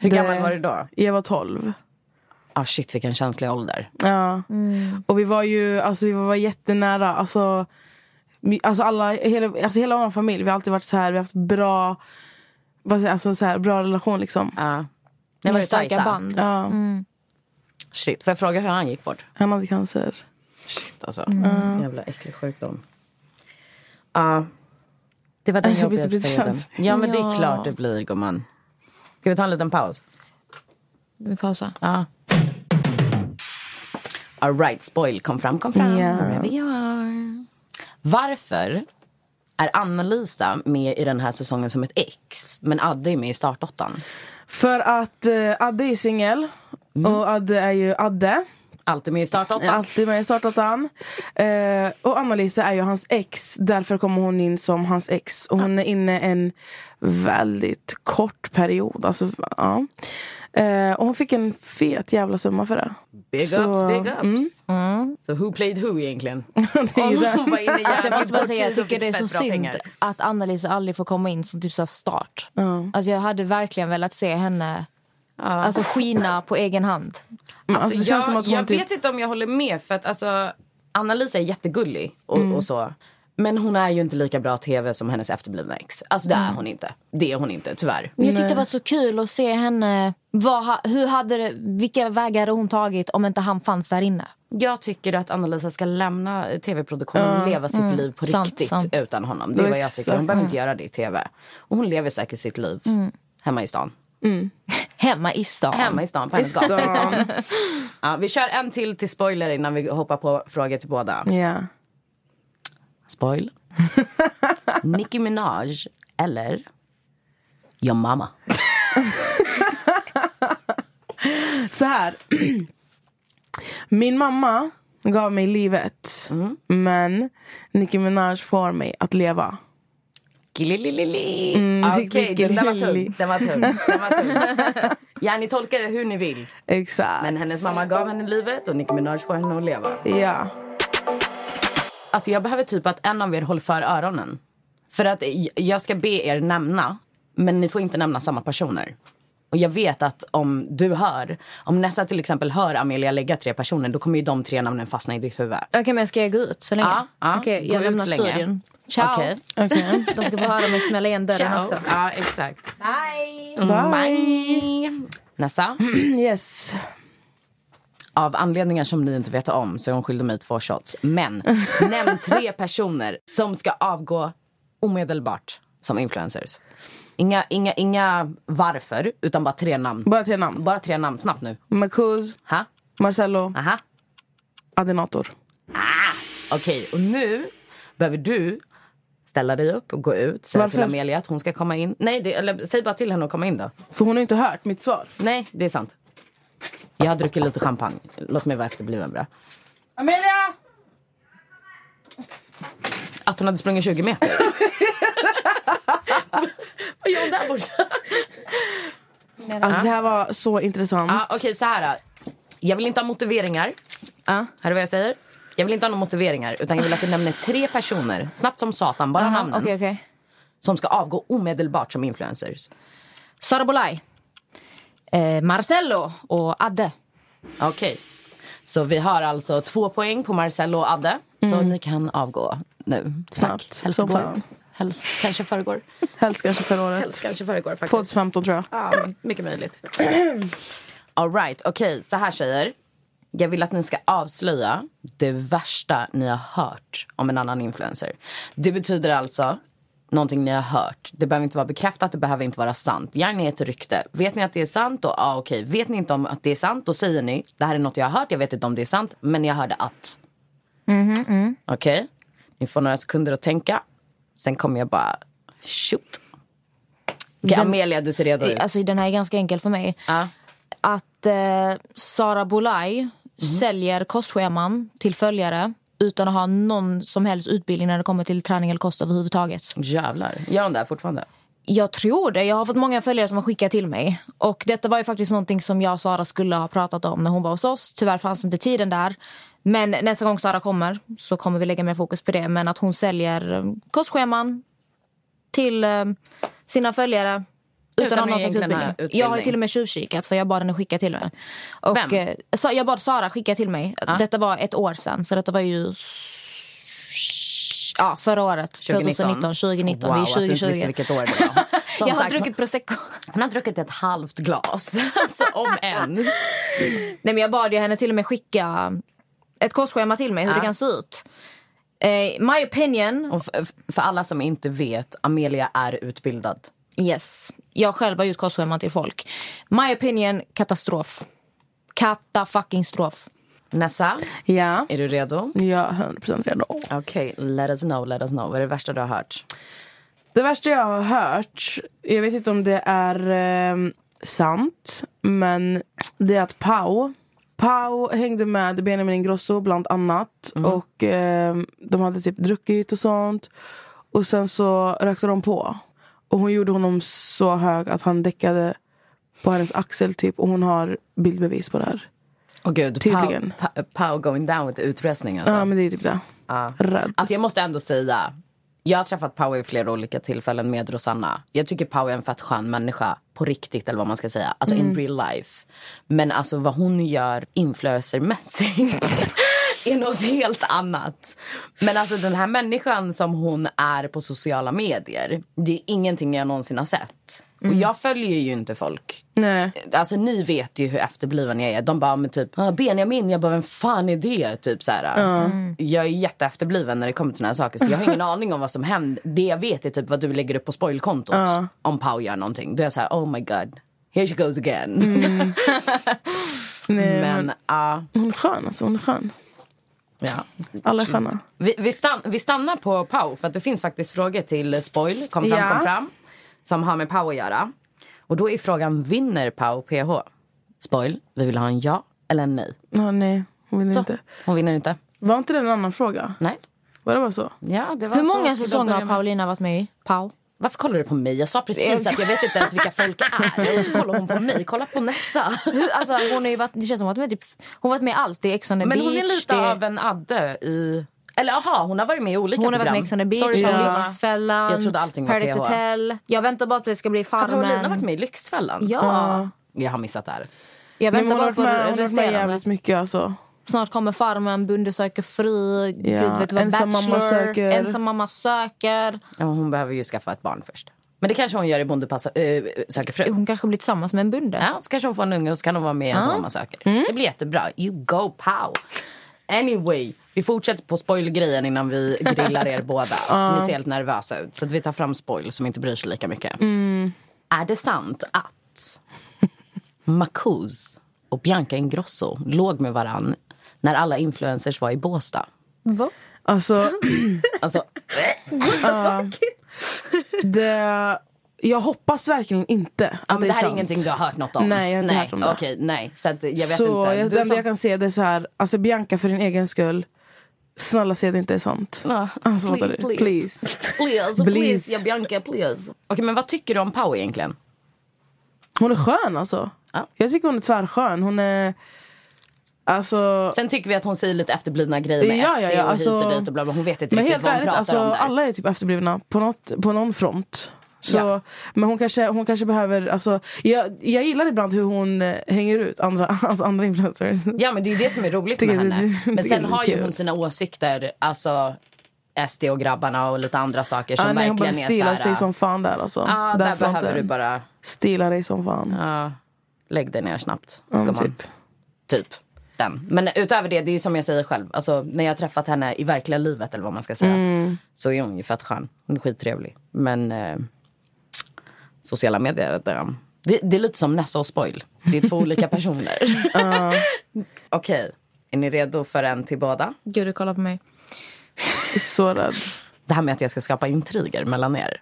A: Hur
C: Det-
A: gammal var du då?
C: Jag var 12.
A: Ah shit, vilken känslig ålder.
C: Ja.
A: Mm.
C: Och vi var ju alltså, vi var jättenära. Alltså, vi, alltså, alla, hela, alltså hela vår familj, vi har alltid varit så här, vi har haft bra, vad säger jag, alltså, så här, bra relation liksom.
A: Ja.
D: Ni har starka band.
C: Ja.
A: Mm. Shit, får jag fråga hur han gick bort?
C: Han hade cancer.
A: Shit alltså. Så jävla äcklig sjukdom. Ja. det var den
C: Alltså, det
A: jobbigaste
C: blir så
A: perioden.
C: känsligt.
A: Ja men det är
D: Ja.
A: klart det blir gumman. Ska vi ta en liten paus?
D: Vi pausar.
A: Ja. All right, spoil. Kom fram, kom fram.
C: Ja.
A: Wherever you are. Varför är Anna-Lisa med i den här säsongen som ett ex men Adde är med i startåttan?
C: För att eh, Adde är ju singel.
A: Mm.
C: Och Adde är ju Adde.
A: Alltid med i startåttan.
C: Alltid med i startåttan. Eh, och Anna-Lisa är ju hans ex. Därför kommer hon in som hans ex. Och hon är inne en väldigt kort period. Alltså, ja. eh, och hon fick en fet jävla summa för det.
A: Big
C: Så, mm.
A: ups, big ups. Så who played who egentligen?
C: det är ju det.
A: Mm. Hon var inne i
D: Alltså, jag
A: jävligt
D: måste bara
A: kort
D: säga, jag
A: tid och
D: tycker det är
A: fick
D: så
A: fett bra
D: synd
A: pengar.
D: att Anna-Lisa aldrig får komma in som typ så här start.
C: Ja.
D: Alltså, jag hade verkligen velat se henne alltså, skina på egen hand.
C: Men Alltså, det
A: jag
C: känns som att hon
A: jag
C: typ... Mm.
A: vet inte om jag håller med. För att alltså, Anna-Lisa är jättegullig och, och så. Men hon är ju inte lika bra tv som hennes efterblivna ex. Alltså det är
C: Mm.
A: hon inte. Det är hon inte, tyvärr.
D: Men jag tyckte det var så kul att se henne. Vad, ha- hur hade det, vilka vägar hade hon tagit om inte han fanns där inne?
A: Jag tycker att Anna-Lisa ska lämna eh, tv-produktionen och
D: Ja.
A: leva sitt
D: Mm.
A: liv på
D: Sant,
A: riktigt
D: sant.
A: utan honom. Det är
D: Ja,
A: vad jag tycker. Hon
D: exakt.
A: behöver inte göra det i tv. Och hon lever säkert sitt liv
D: Mm.
A: hemma i stan.
D: Hemma i stan.
A: Hemma i stan, på hennes
D: I stan.
A: gata i stan. ja, vi kör en till till spoiler innan vi hoppar på frågor till båda.
C: Ja.
A: Spoil. Nicki Minaj eller Your Mama.
C: Så här. Min mamma gav mig livet.
A: Mm.
C: Men Nicki Minaj får mig att leva.
A: Glililili.
C: Mm,
A: Ah, Okej,
C: riktigt
A: den där var tung.
C: glilli.
A: Den var tung. Den var tung. ja, ni tolkar det hur ni vill.
C: Exakt.
A: Men hennes mamma gav henne livet och Nicki Minaj får henne att leva.
C: Ja.
A: Alltså jag behöver typ att en av er håller för öronen. För att j- jag ska be er nämna, men ni får inte nämna samma personer. Och jag vet att om du hör, om Nessa till exempel hör Amelia lägga tre personer, då kommer ju de tre namnen fastna i ditt huvud.
D: Okej, men ska jag gå ut så länge?
A: Ja, ja.
D: Okej,
A: Gå
D: jag
A: ut
D: lämnar
A: så länge.
D: studion. Ciao.
A: Okej.
D: De ska få höra mig smälla igen dörren
A: Ciao.
D: också.
A: Ja, exakt.
D: Bye!
A: Mm. Bye. Nessa?
C: yes.
A: Av anledningar som ni inte vet om så är hon skyldig mig två shots. Men nämn tre personer som ska avgå omedelbart som influencers. Inga, inga, inga varför, utan bara tre namn.
C: Bara tre namn?
A: Bara tre namn, snabbt nu.
C: Marcus,
A: Ha?
C: Marcello,
A: Aha.
C: Adenator.
A: Okej, och nu behöver du ställa dig upp och gå ut. Säga
C: Varför?
A: till Amelia att hon ska komma in. Nej, det, eller säg bara till henne att komma in då.
C: För hon har ju inte hört mitt svar.
A: Nej, det är sant. Jag har druckit lite champagne. Låt mig vara efterbliven bra.
C: Amelia!
A: Att hon hade sprungit 20 meter. Vad gör hon där borta?
C: Alltså det här var så intressant.
A: Ja, Ah, Okej, så här. då. Jag vill inte ha motiveringar. Ja, Här är vad jag säger. Jag vill inte ha några motiveringar, utan jag vill att du nämner tre personer, snabbt som satan, bara
D: Aha,
A: namnen,
D: okej, okej.
A: som ska avgå omedelbart som influencers.
D: Sara Bolaj. Eh, Marcello och Adde.
A: Okej. Så vi har alltså två poäng på Marcello och Adde. Så ni kan avgå nu. Snabbt. Helst
C: som
A: igår.
C: fan.
A: Helst kanske förrgår.
C: Helst kanske förra året.
A: Helst kanske förrgår faktiskt.
C: 2015 tror jag.
A: Ja, mycket möjligt. All right, okej. Så här tjejer. Jag vill att ni ska avslöja det värsta ni har hört om en annan influencer. Det betyder alltså någonting ni har hört. Det behöver inte vara bekräftat, det behöver inte vara sant. Gärna ett rykte. Vet ni att det är sant? Då, ah, okej. Vet ni inte om att det är sant, då säger ni det här är något jag har hört. Jag vet inte om det är sant, men jag hörde att. Okej? Ni får några sekunder att tänka. Sen kommer jag bara... Shoot. Okej,
D: Den-
A: Amelia, du ser redo ut.
D: Alltså, den här är ganska enkel för mig.
A: Ja.
D: Att eh, Sara Bolaj
A: Mhm.
D: säljer kostscheman till följare utan att ha någon som helst utbildning när det kommer till träning eller kost överhuvudtaget.
A: Jävlar. Gör hon det här fortfarande?
D: Jag tror det. Jag har fått många följare som har skickat till mig. Och Detta var ju faktiskt någonting som jag och Sara skulle ha pratat om när hon var hos oss. Tyvärr fanns inte tiden där. Men nästa gång Sara kommer så kommer vi lägga mer fokus på det. Men att hon säljer eh, kostscheman till eh, sina följare utan,
A: Utan
D: att ha någon
A: att
D: slags
A: egentligen ha
D: utbildning.
A: utbildning.
D: Jag har ju till och med tjuvkikat för jag bad henne skicka till mig. Och,
A: Vem?
D: eh, Sa- jag bad Sara skicka till mig. Detta var ett år sedan, så detta var ju... s- Ja, förra året. 2019, 2019.
A: Wow,
D: vi är
A: att du inte
D: 2020
A: visste vilket år det var. Som
D: jag har
A: sagt,
D: druckit prosecco.
A: Hon har druckit ett halvt glas. alltså, om en.
D: Nej, men jag bad ju henne till och med skicka ett kostschema till mig, hur det kan se ut. Eh, my opinion...
A: Och för, för alla som inte vet, Amelia är utbildad.
D: Yes. Jag själv har gjort kostscheman till folk. My opinion, katastrof. Kata-fucking-strof.
A: Nessa,
C: Ja.
A: är du redo?
C: Jag är 100% redo.
A: Okej, let us know, let us know. Vad är det värsta du har hört?
C: Det värsta jag har hört, jag vet inte om det är eh, sant, men det är att Pau Pau hängde med Benjamin Ingrosso bland annat
A: Mm.
C: och eh, de hade typ druckit och sånt. Och sen så rökte de på. Och hon gjorde honom så hög att han däckade på hennes axel typ och hon har bildbevis på det här.
A: Åh gud,
C: Tydligen.
A: Pau, Pa- Pau going down with utrustning alltså.
C: Ja men det är typ det.
A: Ja.
C: Rädd.
A: Alltså jag måste ändå säga, jag har träffat Pau i flera olika tillfällen med Rosanna. Jag tycker Pau är en fett skön människa på riktigt eller vad man ska säga. Alltså in real life. Men alltså vad hon gör influencermässigt är något helt annat. Men alltså den här människan som hon är på sociala medier, det är ingenting jag någonsin har sett. Och jag följer ju inte folk.
C: Nej.
A: Alltså ni vet ju hur efterbliven jag är. De bara, men typ, ah, Benjamin, jag bara, vem fan är det? Typ så här.
C: Ja. Mm.
A: Jag är jätteefterbliven när det kommer till såna här saker. Så jag har ingen aning om vad som händer. Det jag vet är typ vad du lägger upp på spoilkontot.
C: Ja.
A: Om Pau gör någonting. Då är jag så här, oh my god, here she goes again.
C: Mm. Nej,
A: men,
C: Hon är skön alltså, hon är skön.
A: Ja.
C: Alla är sköna.
A: Vi, vi, stann, vi stannar på Pau, för att det finns faktiskt frågor till eh, Spoil, kom fram,
C: Ja.
A: kom fram, som har med Pau att göra. Och då är frågan, vinner Pau PH? Spoil, vi vill ha en ja eller en nej.
C: Ja, nej, hon vinner
A: Så,
C: inte.
A: Hon vinner inte.
C: Var inte det en annan fråga?
A: Nej.
C: Var det bara så?
A: Ja, det var
D: Hur
A: så
D: många
A: till att
D: säsonger
A: börja
D: har
A: med.
D: Paulina varit med i? Pau?
A: Varför kollar du på mig? Jag sa precis att jag vet inte ens vilka folk är. Och så kollar hon på mig. Kolla på Nessa.
D: Hur- alltså, hon har ju varit, det känns som att hon har varit med, typ, hon har varit med i allt. i Ex on the
A: Men
D: beach.
A: hon är lite
D: det...
A: av en Adde i... Eller aha, hon har varit med i olika
D: Hon har varit
A: program.
D: med i Ex on the beach,
A: Sorry,
D: hon
A: Paulina.
D: har Lyxfällan,
A: Jag trodde allting var
D: Paradise
A: PH.
D: Hotel. Jag väntar bara på att det ska bli
A: Har
D: Farmen.
A: Paulina varit med i Lyxfällan?
D: Ja.
A: Jag har missat det här.
D: Jag
C: Nej, men hon
D: väntar
C: har
D: bara
C: varit
D: på
C: med, hon har varit med
D: resterande.
C: jävligt mycket alltså.
D: Snart kommer Farmen, Bonde söker fru, Gud vet vad,
C: Ensam mamma
D: Bachelor,
C: söker.
D: Ensam mamma söker.
A: Ja, hon behöver ju skaffa ett barn först. Men det kanske hon gör i Bonde passa, äh, söker fru.
D: Hon kanske blir tillsammans med en bonde.
A: Ja, så kanske hon får en unge och så kan hon vara med i Ensam
D: Ja.
A: mamma söker. Det blir jättebra. You go pow. Anyway, vi fortsätter på spoil-grejen innan vi grillar er båda. För Ni ser helt nervösa ut. Så att vi tar fram spoil som inte bryr sig lika mycket. Är det sant att Marcuse och Bianca Ingrosso låg med varann när alla influencers var i Båstad?
C: Alltså,
A: Alltså,
C: det, jag hoppas verkligen inte att
A: ja, men det här är
C: sant.
A: ingenting du har hört något om?
C: Nej, jag har inte
A: nej,
C: hört om det.
A: Okej, nej. Så att jag vet
C: så
A: inte. Du
C: Jag, det
A: som-
C: enda jag kan säga det är så här, alltså Bianca för din egen skull, snälla säg att det inte är sant.
A: Ja,
C: Alltså, fattar
A: please, please.
C: du? please.
A: Please,
C: Please.
A: please. Ja, Bianca, please. Okej, men vad tycker du om Pau egentligen?
C: Hon är skön alltså.
A: Ja.
C: Jag tycker hon är tvärskön. Hon är... Alltså...
A: Sen tycker vi att hon säger lite efterblivna grejer med
C: Ja,
A: SD
C: ja, ja,
A: och hit
C: alltså-
A: och dit och bla, bla. Hon vet inte
C: Men
A: riktigt
C: helt
A: vad hon
C: ärligt,
A: pratar
C: alltså,
A: om där.
C: alla är typ efterblivna på, något, på någon front. Så,
A: Ja.
C: Men hon kanske, hon kanske behöver... Alltså, jag, jag gillar ibland hur hon eh, hänger ut andra, alltså andra influencers.
A: Ja, men det är det som är roligt
C: Tycker
A: med
C: det-
A: henne. Men
C: tycker
A: sen
C: det är
A: har ju
C: kul.
A: hon sina åsikter, alltså SD och grabbarna och lite andra saker som
C: Ah, nej, hon behöver
A: verkligen
C: stila
A: är så här...
C: sig som fan där alltså.
A: Ja, där
C: Den
A: behöver
C: fronten.
A: du bara...
C: Stila dig som fan.
A: Ja, lägg dig ner snabbt.
C: Ja, men
A: gumman.
C: typ.
A: typ. Den. Men utöver det, det är ju som jag säger själv. Alltså, när jag har träffat henne i verkliga livet eller vad man ska säga.
C: Mm.
A: Så är hon ju fett skön. Hon är skittrevlig. Men eh, sociala medier, det, det, det är lite som Nessa och Spoil. Det är två olika personer. Okej, är ni redo för en till båda?
D: Gud, du kollar på mig.
C: Så rädd.
A: Det här med att jag ska skapa intriger mellan er.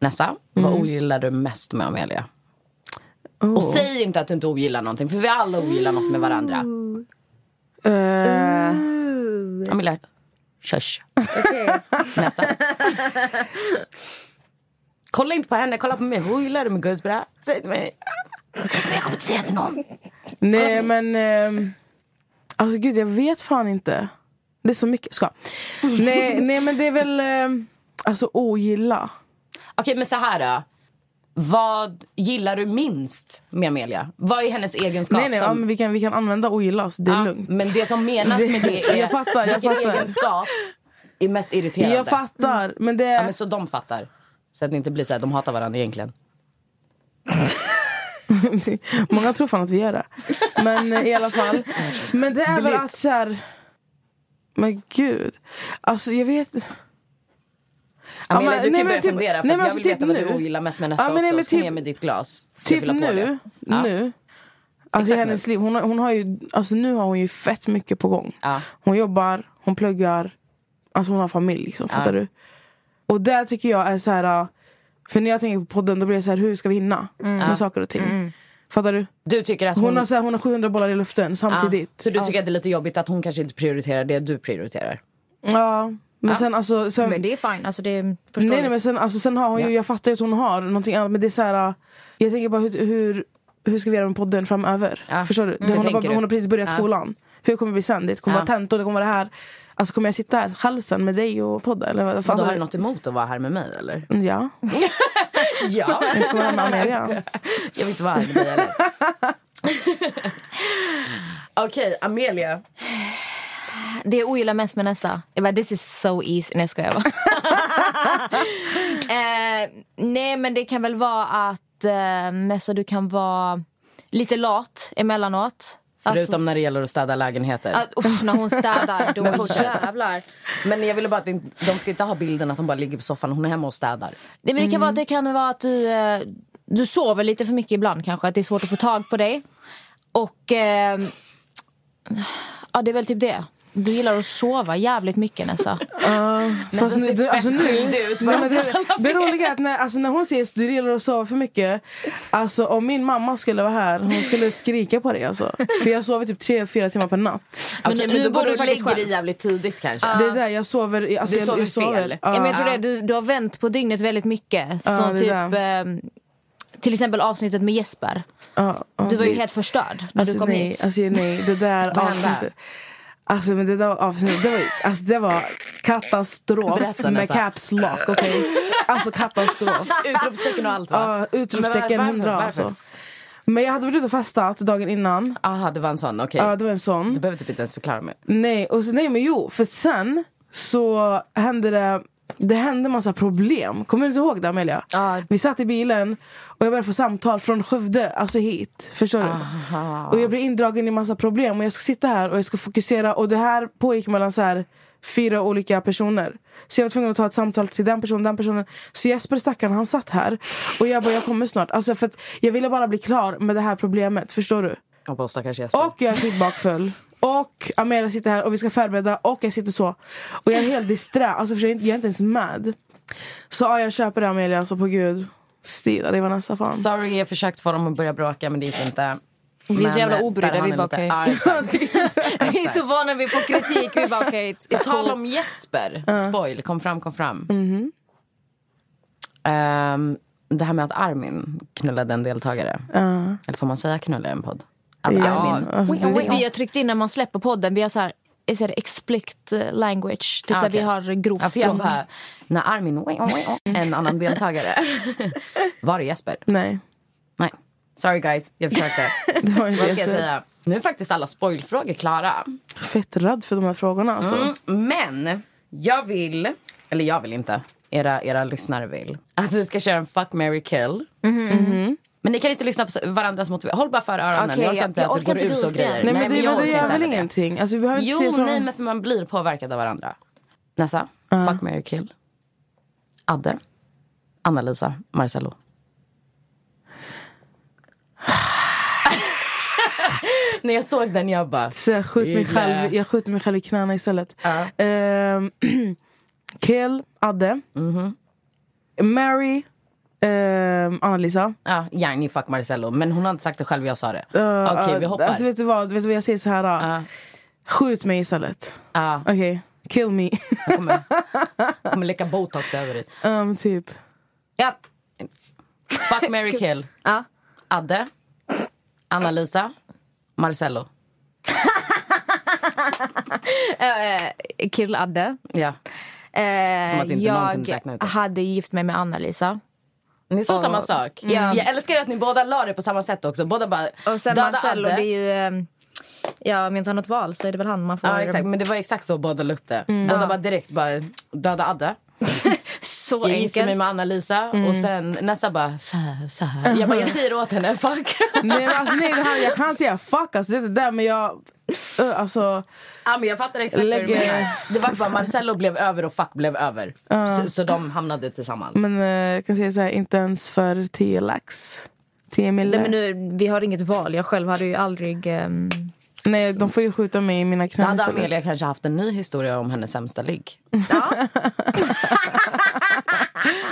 A: Nessa,
C: Mm.
A: vad ogillar du mest med Amelia? Och säg inte att du inte ogillar någonting, för vi alla ogillar något med varandra.
C: Eh,
A: Amelia, körs. Nessa. kolla inte på henne, kolla på mig. Vad ogillar du med Gudsbra? Säg till mig. Säg till mig, jag kommer inte säga till någon.
C: nej men... ehm, alltså gud, jag vet fan inte. Det är så mycket. Ska. nej, nej men det är väl... ehm, alltså ogilla.
A: Okej, men så här då. Vad gillar du minst med Amelia? Vad är hennes egenskap?
C: nej nej, ja,
A: som...
C: men vi, kan, vi kan använda ogilla. Så det är
A: Ja,
C: lugnt.
A: Men det som menas med det är
C: Jag fattar, jag
A: vilken
C: fattar.
A: egenskap är mest irriterande.
C: Jag fattar, men det...
A: Ja, men så de fattar. Så att det inte blir så här, de hatar varandra egentligen.
C: Många tror fan att vi gör det. Men eh, i alla fall. Men det är väl att så här... Men gud. Alltså jag vet... Ja,
A: Amelia, du
C: men-
A: kan ju
C: nej, men
A: börja
C: typ-
A: fundera. För
C: nej,
A: att
C: men
A: jag
C: alltså
A: vill
C: typ
A: veta vad du
C: nu.
A: ogillar mest med nästa
C: Ja, men nej,
A: också.
C: men
A: så ner
C: typ-
A: med ditt glas. Ska
C: Typ
A: fylla på
C: nu.
A: det. Ja.
C: Nu. Alltså i
A: Exakt
C: hennes liv. Hon har, hon har ju, alltså nu har hon ju fett mycket på gång.
A: Ja.
C: Hon jobbar, hon pluggar. Alltså hon har familj liksom. Fattar du? Och där tycker jag är så här... äh, För när jag tänker på podden då blir det så här, hur ska vi hinna
A: Mm.
C: med saker och ting? Fattar du?
A: Du tycker att Alltså, hon...
C: Hon har, så här, hon har 700 bollar i luften
A: Ja.
C: samtidigt.
A: Så du tycker att det är lite jobbigt att hon kanske inte prioriterar det du prioriterar?
C: Ja, men sen alltså... Sen,
D: Men det är fine. Alltså, det är
C: nej,
D: förståeligt.
C: nej, men sen, alltså, sen har hon ju, jag fattar ju att hon har någonting annat men det är så här, äh, Jag tänker bara hur, hur, hur ska vi göra med podden framöver?
A: Ja.
C: Förstår du? Det,
A: Hur
C: hon, har
A: tänker
C: bara,
A: du?
C: hon har precis börjat
A: Ja.
C: skolan. Hur kommer det bli sen? Det kommer
A: Ja.
C: vara tentor, det kommer vara det här. Alltså kommer jag sitta här själv sen med dig och podda? Eller vad
A: Då
C: fan?
A: har du något emot att vara här med mig eller?
C: Ja,
A: Ja.
C: jag ska vara med Amelia.
A: Jag vill inte vara här med dig heller. Okej, Amelia.
D: Det jag ogillar mest med Nessa, jag bara, this is so easy. Nej, jag skojar bara. eh, nej, men det kan väl vara att eh, Nessa, du kan vara lite lat emellanåt.
A: Förutom när det gäller att städa lägenheter.
D: Ah, uff, när hon städar, Alltså- då
A: Men fortsätt.
D: jävlar.
A: Men jag ville bara att det- de ska inte ha bilden att hon bara ligger på soffan och hon är hemma och städar.
D: Nej, men det, kan
A: Mm.
D: vara, det kan vara att du, eh, du sover lite för mycket ibland kanske. Att det är svårt att få tag på dig. Och eh, ja, det är väl typ det. Du gillar att sova jävligt mycket Nessa.
C: Fast nu, du, alltså nu, nej, men det, det roliga är att när, alltså när hon säger att du gillar att sova för mycket Alltså om min mamma skulle vara här, hon skulle skrika på dig alltså För jag sover typ 3-4 timmar per natt
A: Men, men då går du och lägger dig jävligt tidigt kanske.
C: Det är där jag sover, i- alltså
A: Du
C: jag,
A: sover
C: jag sover
A: fel.
D: Ja, men jag tror
C: Ja.
D: det, du, du har vänt på dygnet väldigt mycket.
C: Ja,
D: som
C: det
D: typ,
C: där.
D: ehm, till exempel avsnittet med Jesper.
C: Ja, ja.
D: Du var ju helt förstörd när
C: Alltså
D: du kom
C: nej,
D: hit.
C: alltså nej, det där
D: Vad
C: avsnittet. Alltså men det där avsnittet, det var, ju- alltså, det var katastrof
A: Berätta,
C: med
A: Nessa.
C: caps lock, okej? Alltså katastrof.
A: Utropstecken och allt
C: Ja,
A: va?
C: utropstecken
A: Men var- varför?
C: 100 alltså. Men jag hade varit ute och festat dagen innan.
A: Aha, det var en sån, okej.
C: Ja, det var en sån.
A: Du behöver typ inte ens förklara mer.
C: Nej, och så, nej men jo, för sen så hände det det hände massa problem. Kommer du inte ihåg det Amelia? Vi satt i bilen och jag började få samtal från Skövde, alltså hit. Förstår du?
A: Aha.
C: Och jag blir indragen i massa problem och jag ska sitta här och jag ska fokusera. Och det här pågick mellan så här fyra olika personer. Så jag var tvungen att ta ett samtal till den personen, den personen. Så Jesper stackaren, han satt här. Och jag bara, jag kommer snart. Alltså för att jag ville bara bli klar med det här problemet. Förstår du?
A: Och på stackars Jesper.
C: Och jag är skitbakfull. Och Amelia sitter här och vi ska förbereda och jag sitter så. Och jag är helt disträ. Alltså förstår du, jag är inte- jag är inte ens med. Så ja, jag köper det Amelia, alltså på gud. Stila dig Vanessa fan.
A: Sorry, jag försökte få dem att börja bråka men det gick inte.
D: Vi är så
A: Men,
D: jävla
A: eh,
D: obrydda,
A: där har
D: vi
A: ni
D: bara,
A: lite-
D: okej.
A: Ja, exakt.
D: Vi är så vana vid att få kritik. Vi bara, okej.
A: På tal om Jesper, spoil, kom fram, kom fram. Ehm, det här med att Armin knullade en deltagare.
C: Ja.
A: Eller får man säga knulla i en podd? Att
C: Ja,
A: Armin...
C: alltså, det-
D: Vi har tryckt in när man släpper podden. Vi har så här, är det explicit eh, language. Typ
A: Ah,
D: så här,
A: okej.
D: Vi har grovt
A: Ja, för jag
D: språk.
A: bara, när Armin, oj, oj, oj, oj, en annan deltagare. Var det Jesper?
C: Nej.
A: Nej. Sorry guys, jag försökte.
C: Det var
A: Vad
C: inte
A: ska jag
C: Jesper.
A: säga? Nu är faktiskt alla spoilfrågor klara.
C: Fett rädd för de här frågorna alltså.
A: Mm, men jag vill, eller jag vill inte, era, era lyssnare vill att vi ska köra en fuck, marry, kill.
C: Mm-hmm.
A: Men ni kan inte lyssna på varandras motiveringar. Håll bara för öronen.
D: Okej,
A: jag orkar
D: jag-
A: inte att
D: jag
A: det
D: orkar
A: går
D: inte
A: ut
D: du
A: och grejer.
C: Nej, men det,
A: jag
C: men det
A: orkar
C: gör
A: inte
C: väl
A: heller det.
C: ingenting. Alltså, vi behöver inte se
A: Jo,
C: så.
A: nej, men för man blir påverkad av varandra. Nessa, fuck, marry, kill. Adde, Anna-Lisa, Marcello. När jag såg den, jag bara...
C: Så jag, skjuter eh, mig
A: Gilla.
C: själv, jag skjuter mig själv i knäna istället. Ehm, Kill, Adde.
A: Mhm.
C: Mary, ehm, Anna-Lisa.
A: Ja, Järni fuck Marcello. Men hon har inte sagt det själv, jag sa det.
C: Eh,
D: Uh,
A: Okej, vi
C: eh,
A: hoppar.
C: Alltså, vet, du vad, vet du vad, jag säger så här. ah. Skjut mig istället.
A: Ja,
C: Okej, kill me.
A: jag kommer läcka botox över dig.
C: Ehm, typ.
A: Ja. Fuck, marry, kill.
D: Ja.
A: Adde, Anna-Lisa, Marcello.
D: Eh, Kill Adde.
A: Ja.
D: Eh,
A: Som att inte någon kunde
D: jag
A: räkna ut det.
D: hade gift mig med Anna-Lisa.
A: Ni sa
D: Och- Mm.
A: samma sak.
D: Ja.
A: Jag älskar att ni båda la det på samma sätt också. Båda bara...
D: Och sen
A: döda
D: Marcello,
A: Adde.
D: det är ju... ehm, Ja, om jag inte har något val så är det väl han man får...
A: Ja, exakt. Men det var exakt så båda la upp det.
D: Mm.
A: Båda bara direkt bara döda Adde.
D: Så
A: Jag
D: enkelt. Mm.
A: gifte mig med Anna-Lisa och sen Nessa bara... Fä, fä. Jag bara, jag säger åt henne, fuck.
C: nej, men alltså, nej, det här, jag kan säga fuck alltså, det är det där men jag... Uh, alltså,
A: Ja, men jag fattar exakt vad du
C: Lägger-
A: menar. Det var bara Marcello blev över och fuck blev över. Så, så de hamnade tillsammans.
C: men eh, jag kan säga så här, inte ens för 10 lax. 10
D: Nej,
C: mille.
D: men nu, vi har inget val. Jag själv hade ju aldrig... ehm,
C: Nej, de får ju skjuta mig i mina
A: Då
C: knän
A: hade
C: istället.
A: Amelia kanske haft en ny historia om hennes sämsta ligg.
C: Mm.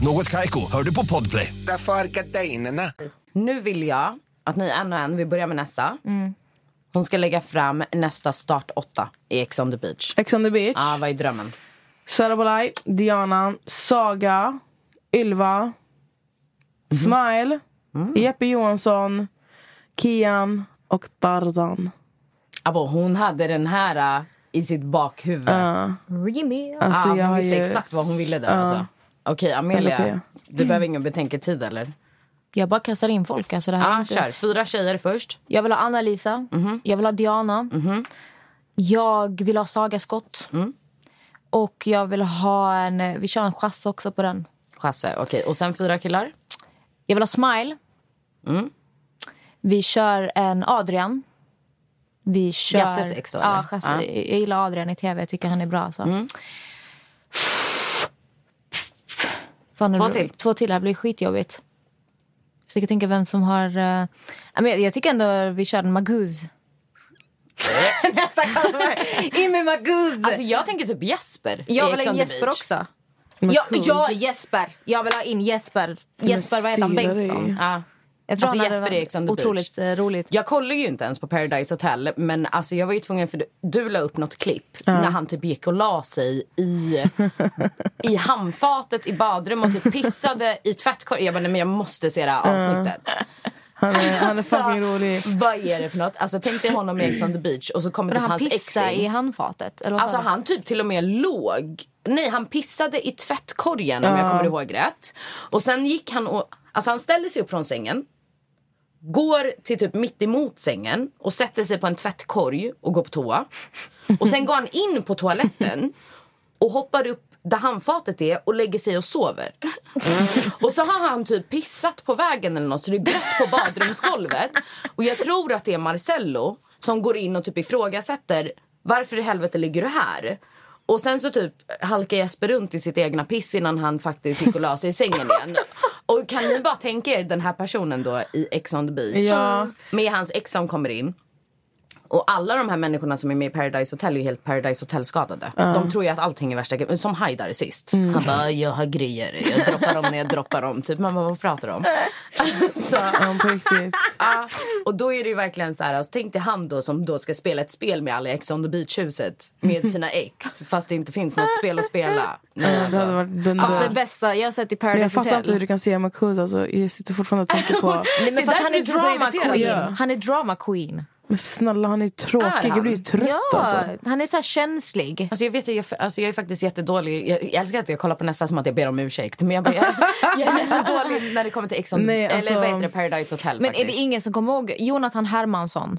G: Något Kaiko, hör du på Podplay.
F: Därför arkadeinerna.
C: Mm.
A: Nu vill jag att ni en och en, vi börjar med Nessa. Hon ska lägga fram nästa start åtta i Ex on the beach.
C: Ex on the beach.
A: Ja, vad är drömmen?
C: Sara Bolaj, Diana, Saga, Ylva,
A: Mhm.
C: Smile,
A: Mm.
C: Jeppe Johansson, Kian och Tarzan.
A: Abo, hon hade den här äh, i sitt bakhuvud.
C: Ja.
D: Rimi.
C: Alltså,
A: ah,
C: jag
A: hon
C: har
A: visste
C: ju-
A: exakt vad hon ville där.
C: Ja.
A: Alltså. Okej,
C: Eller okej,
A: Amelia.
C: ja.
A: Du behöver ingen betänketid, eller?
D: Jag bara kastar in folk. Alltså, det här är
A: Ah,
D: inte-
A: kör. Fyra tjejer först.
D: Jag vill ha Anna-Lisa. Jag vill ha Diana. Jag vill ha Saga Skott. Och jag vill ha en... Vi kör en chass också på den.
A: Chasse. Okej, och sen fyra killar?
D: Jag vill ha Smile.
A: Mm.
D: Vi kör en Adrian. Vi kör...
A: Gasses ex då, eller?
D: Ja, Gasses.
A: Ja. Mm.
D: Jag gillar Adrian i tv. Jag tycker han är bra. Alltså. Fan,
A: Två
D: det blir-
A: till.
D: Två till. Det här blir skitjobbigt. Jag försöker tänka vem som har... eh, ja, men jag, jag tycker ändå vi kör en Maguz. In med Maguz!
A: Eh. Alltså, jag tänker typ Jesper. i
D: Jag vill
A: Ex
D: ha
A: on
D: in
A: the
D: Jesper
A: Beach.
D: också.
A: Maguz.
D: Ja, ja, Jesper! Jag vill ha in Jesper. Jesper, vad heter han?
A: styra dig.
D: Bengtsson.
A: Ja.
D: Jag tror
A: alltså
D: han hade
A: Jesper
D: varit
A: Eriksson, The Beach.
D: otroligt eh, roligt.
A: Jag kollar ju inte ens på Paradise Hotel, men alltså jag var ju tvungen... för Du, du la upp något klipp när han typ gick och la sig i, i handfatet i badrum och typ pissade i tvättkorgen. Jag bara, nej, men jag måste se det här avsnittet.
C: Han är, Eh, han är
A: Alltså,
C: fucking rolig.
A: Vad är det för något? Alltså, tänk dig honom i Ex on the beach och så kommer
D: Men
A: typ
D: han
A: hans ex
D: pissade
A: in.
D: i handfatet? Eller vad sa
A: Alltså
D: du?
A: han typ till och med låg. Nej, han pissade i tvättkorgen om jag
D: Ja.
A: kommer ihåg rätt. Och sen gick han och... Alltså han ställde sig upp från sängen. Går till typ mitt emot sängen och sätter sig på en tvättkorg och går på toa. Och sen går han in på toaletten och hoppar upp där handfatet är och lägger sig och sover. Och så har han typ pissat på vägen eller något så det är blött på badrumsgolvet. Och jag tror att det är Marcello som går in och typ ifrågasätter varför i helvete ligger du här? Och sen så typ halkar Jesper runt i sitt egna piss innan han faktiskt gick och la sig i sängen igen. Och kan ni bara tänka er den här personen då i Ex on the beach
C: Ja.
A: med hans ex som kommer in. Och alla de här människorna som är med i Paradise Hotel är ju helt Paradise Hotel-skadade.
C: Ja. Mm.
A: De tror ju att allting är värsta grejen. Som Haidar sist. Han bara, jag har grejer. Jag droppar dem när jag droppar dem. Typ, man bara, vad pratar du om? så,
C: Ja, på riktigt.
A: ja. och då är det ju verkligen så här, alltså, tänk dig han då som då ska spela ett spel med alla i Ex on the Beach-huset. Med sina ex. Fast det inte finns något spel att spela. Alltså. Nej,
C: Ja, det hade varit dunder.
D: Fast Alltså, det bästa jag har sett i
C: Men jag
D: Paradise
C: fattar inte hur
D: Hotel.
C: du kan säga Marcus. Alltså, jag sitter fortfarande och tänker på...
D: Nej, men för att han är
A: därför jag är så
D: drama
A: irriterad.
D: queen. Han är drama queen.
C: Men snälla, han är
A: Är
C: tråkig.
A: han?
C: Jag blir trött
D: ja,
C: alltså.
D: han är så här känslig.
A: Alltså jag, vet, att jag, alltså jag är faktiskt jättedålig. Jag, jag älskar att jag kollar på nästa som att jag ber om ursäkt. Men jag, bara, jag, jag är jättedålig när det kommer till Ex on,
C: Nej, alltså-
A: eller vad heter det, Paradise Hotel.
D: Men är
A: faktiskt.
D: det ingen som kommer ihåg Jonathan Hermansson?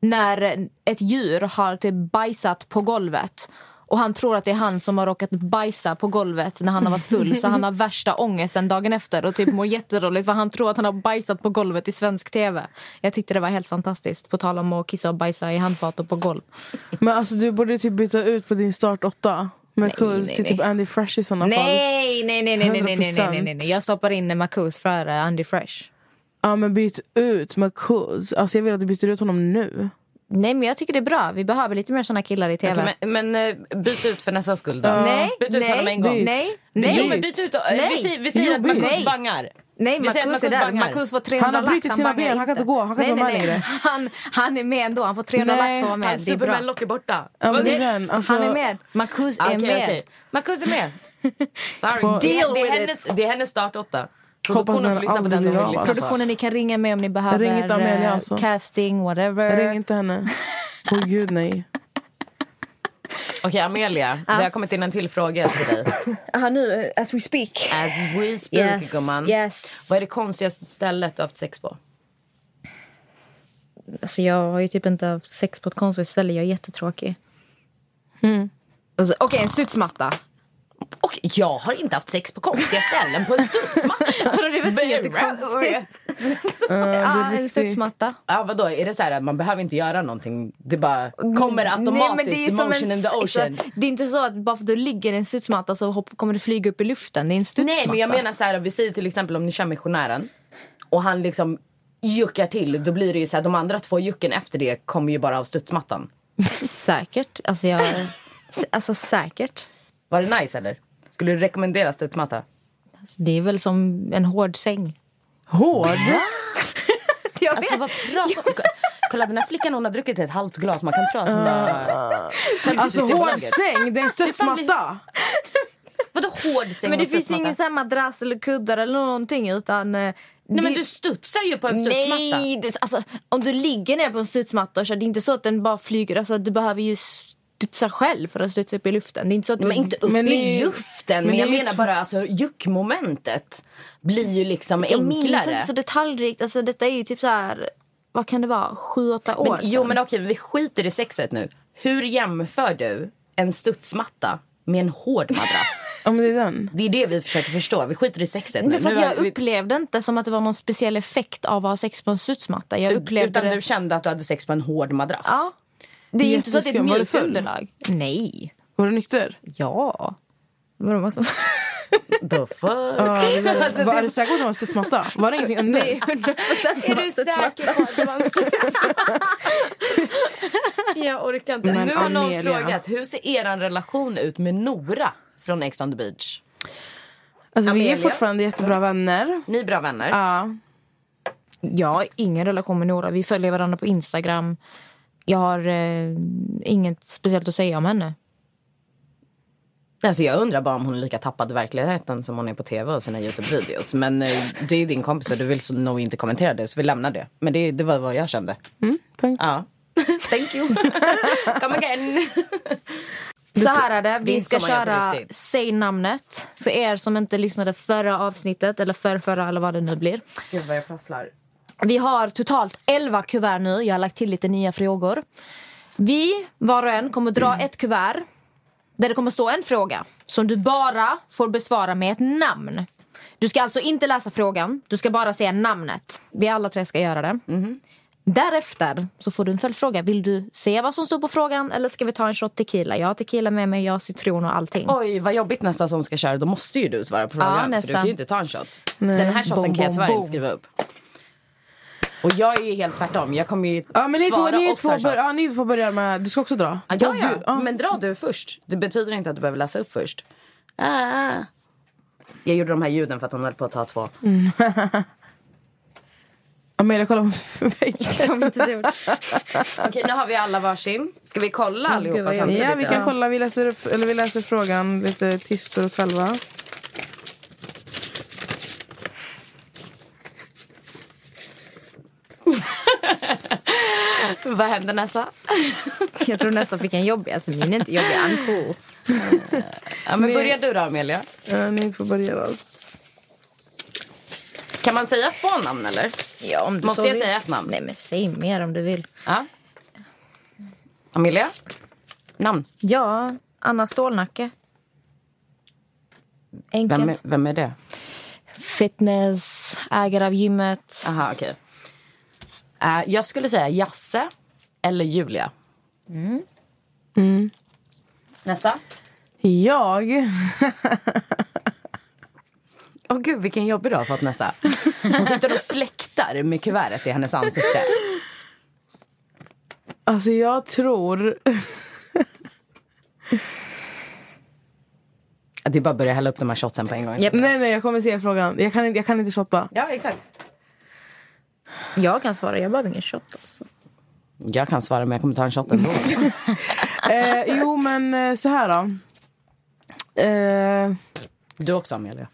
D: När ett djur har typ bajsat på golvet och han tror att det är han som har råkat bajsa på golvet när han har varit full så han har värsta ångesten dagen efter och typ mår jättedåligt för han tror att han har bajsat på golvet i svensk tv. Jag tyckte det var helt fantastiskt på tal om att kissa och bajsa i handfat och på golv.
C: Men alltså, du borde typ byta ut på din start åtta. Marcus
D: nej,
C: till typ
D: nej.
C: Andy Fresh i såna fall.
D: Nej, nej, nej, nej, nej, nej, nej, nej, nej,
C: 100%.
D: nej. Jag stoppar in Marcus före Andy Fresh.
C: Ja, men byt ut Marcus. Alltså, jag vill att du byter ut honom nu.
D: Nej, men jag tycker det är bra. Vi behöver lite mer såna killar i tv.
A: Okej, men, men eh, byt ut för nästa skull då.
D: Nej,
A: byt ut
D: nej,
A: honom en gång.
D: byt. Nej, nej.
A: Jo, men byt ut. då. Eh,
D: Nej.
A: Vi säger, vi
D: Jo,
A: säger att
D: byt.
A: Marcus
D: Nej.
A: bangar.
D: Nej,
A: Vi säger
D: Marcus är
A: att
D: där.
A: bangar.
D: Marcus får 300
C: Han har
D: lax,
C: brutit sina
D: bangar
C: ben, han kan inte gå, han kan inte
D: Nej,
C: vara
D: nej,
C: med
D: nej.
C: längre.
D: Han, han är med ändå. Han får 300
C: Nej,
D: lax för att vara med.
A: Han
D: Det är bra.
A: Eh, Superman Lock är borta.
C: Ja, men
A: Vad-
C: det är den, alltså-
D: Han är med. Marcus är
A: Okej,
D: med.
A: okej. Marcus är med.
C: På-
A: Sorry. Det, det,
D: with
A: är
D: it.
A: hennes, det är hennes start åtta.
C: Hoppas
A: Produktionen
C: den
A: får lyssna på
C: aldrig
A: den. om
C: blir
A: de
C: av,
A: vill lyssna på.
C: alltså.
D: Produktionen, ni kan ringa mig om ni behöver
C: Ring inte Amelia,
D: eh,
C: alltså.
D: casting, whatever.
C: Ring inte henne. Åh gud, nej.
A: Okej, Amelia. Det har kommit in en till fråga till dig.
D: Ah, nu, as we speak.
A: As we speak,
D: Yes,
A: gumman.
D: yes.
A: Vad är det konstigaste stället du har haft sex på?
D: Alltså, jag har ju typ inte haft sex på ett konstigt ställe. Jag är jättetråkig. Alltså, Okej, en studsmatta.
A: Och jag har inte haft sex på konstiga ställen på en studsmatta.
D: Vadå, det är väl inte jättekonstigt?
C: är
D: Ja, en
C: riktigt-
D: studsmatta.
A: Ja, vadå? Är det så här att man behöver inte göra någonting? Det bara kommer automatiskt,
D: ju som
A: motion in the ocean.
D: exakt. det är inte så att bara för att du ligger i en studsmatta så hopp, kommer du flyga upp i luften. Det är en studsmatta.
A: Nej, men jag menar så här, vi säger till exempel om ni kör missionären och han liksom juckar till, då blir det ju så här, de andra två jucken efter det kommer ju bara av studsmattan.
D: Säkert. Alltså, jag, s- alltså säkert.
A: Var det nice eller? Skulle du rekommendera studsmatta?
D: Alltså, det är väl som en hård säng.
C: Hård?
D: Så jag
A: Alltså
D: vet.
A: vad pratar Kolla den här flickan hon har druckit ett halvt glas. Man kan tro att hon har...
C: Alltså, hård säng, det är en studsmatta.
A: Vadå hård säng
D: Men det
A: och
D: finns
A: studsmatta?
D: ingen så här madrass eller kuddar eller någonting utan... Nej
A: Nej, men du studsar ju på en studsmatta.
D: Nej, det, alltså, om du ligger ner på en studsmatta så det är inte så att den bara flyger. Alltså, du behöver ju studsa själv för att studsa upp i luften. Det är inte så att du...
A: Men inte upp i luften. Men, jag
D: det är ju
A: menar
D: tv-
A: bara alltså juckmomentet blir ju liksom
D: Jag minns
A: enklare.
D: inte så detaljrikt. Alltså, detta är ju typ så här... Vad kan det vara? Sju, åtta år
A: men, jo
D: sedan.
A: men okej, vi skiter i sexet nu. Hur jämför du en studsmatta med en hård madrass?
C: ja, men det, är den.
A: det är det vi försöker förstå. Vi skiter i sexet nu.
D: Men för att
A: nu
D: jag
A: har vi-
D: upplevde inte som att det var någon speciell effekt av att ha sex på en studsmatta. Jag upplevde
A: Utan
D: det...
A: du kände att du hade sex på en hård madrass?
D: Ja. Det är ju inte så att det är
C: Jätteskum.
D: ett
C: Var du
D: mjukt
C: full?
D: underlag. Nej.
C: Var du nykter?
D: Ja. Vadå, vad som-
A: The fuck? Alltså,
C: var, är du säker på att det var en studsmatta? Var det ingenting under?
D: Nej, 100 procent.
A: Är du säker på att det var en Jag orkar inte.
C: Men
A: nu har någon
C: Amelia.
A: frågat hur ser er relation ut med Nora från Ex on the beach?
C: Alltså, vi är
A: Amelia?
C: fortfarande jättebra vänner.
A: Ni är bra vänner.
C: Ja.
D: Jag har ingen relation med Nora. Vi följer varandra på Instagram. Jag har eh, inget speciellt att säga om henne.
A: Alltså jag undrar bara om hon är lika tappad i verkligheten som hon är på tv och sina Youtube-videos. Men eh, det är din kompis och du vill så nog inte kommentera det så vi lämnar det. Men det, det var vad jag kände.
C: Mm, punkt.
A: Ja. Thank you. Come again.
D: Så här är
A: Det
D: det.
A: är
D: Vi
A: inte
D: ska
A: som man gör på
D: köra
A: riktigt.
D: Säg namnet. För er som inte lyssnade förra avsnittet eller förra, förra eller vad det nu blir.
A: Gud vad jag prasslar.
D: Vi har totalt 11 kuvert nu. Jag har lagt till lite nya frågor. Vi, var och en, kommer dra
A: Mm.
D: ett kuvert där det kommer stå en fråga som du bara får besvara med ett namn. Du ska alltså inte läsa frågan, du ska bara säga namnet. Vi alla tre ska göra det. Därefter så får du en följdfråga. Vill du se vad som står på frågan eller ska vi ta en shot tequila? Jag har tequila med mig, jag har citron och allting.
A: Oj, vad jobbigt nästa som ska köra. Då måste ju du svara på frågan. för du
D: nästan.
A: kan ju inte ta en shot.
D: Nej.
A: Den här shoten
D: Bom,
A: kan jag
D: bom,
A: tyvärr
D: bom.
A: inte skriva upp. Och jag är ju helt tvärtom. Jag kommer ju
C: Ja, men ni två,
A: svara
C: ni
A: och
C: två
A: ta en shot.
C: bör, ja, ni får börja med... Du ska också dra?
A: Ja, ja, ja. Men dra du först. Det betyder inte att du behöver läsa upp först. Ah. Jag gjorde de här ljuden för att hon höll på att ta två.
C: Mm. Amelia, kolla om
A: Okej, nu har vi alla varsin. Ska vi kolla
C: Gud,
A: allihopa
C: vad
A: samtidigt?
C: Ja, vi kan kolla. Vi läser, upp, eller vi läser frågan lite tyst för oss själva.
A: Vad händer Nessa?
D: Jag tror nästan fick en jobbig, alltså min är inte jobbig, Anko.
A: Ja, men börja du då, Amelia.
C: Ja, ni får börja. då.
A: Kan man säga två namn, eller?
D: Ja, om du
A: Måste
D: så
A: jag
D: vill.
A: säga ett namn?
D: Nej, men säg mer om du vill.
A: Ja. Amelia? Namn?
D: Ja, Anna Stålnacke. Enkel.
A: Vem är, vem är det?
D: Fitness, ägare av gymmet.
A: Aha, okej. Eh, jag skulle säga Jasse eller Julia.
D: Mm.
C: Mm.
A: Nessa?
C: Jag?
A: Åh gud, vilken jobbig dag för att Nessa. Hon sitter och fläktar med kuvertet i hennes ansikte.
C: Alltså, jag tror...
A: Det är bara att börja hälla upp de här shotsen på en gång.
C: Nej, nej, jag kommer se frågan. Jag kan, inte- jag kan inte shotta.
A: Ja, exakt.
D: Jag kan svara, jag behöver ingen shot alltså.
A: Jag kan svara, men jag kommer ta en shot ändå.
C: eh, jo, men eh, så här då. Eh,
A: Du också, Amelia.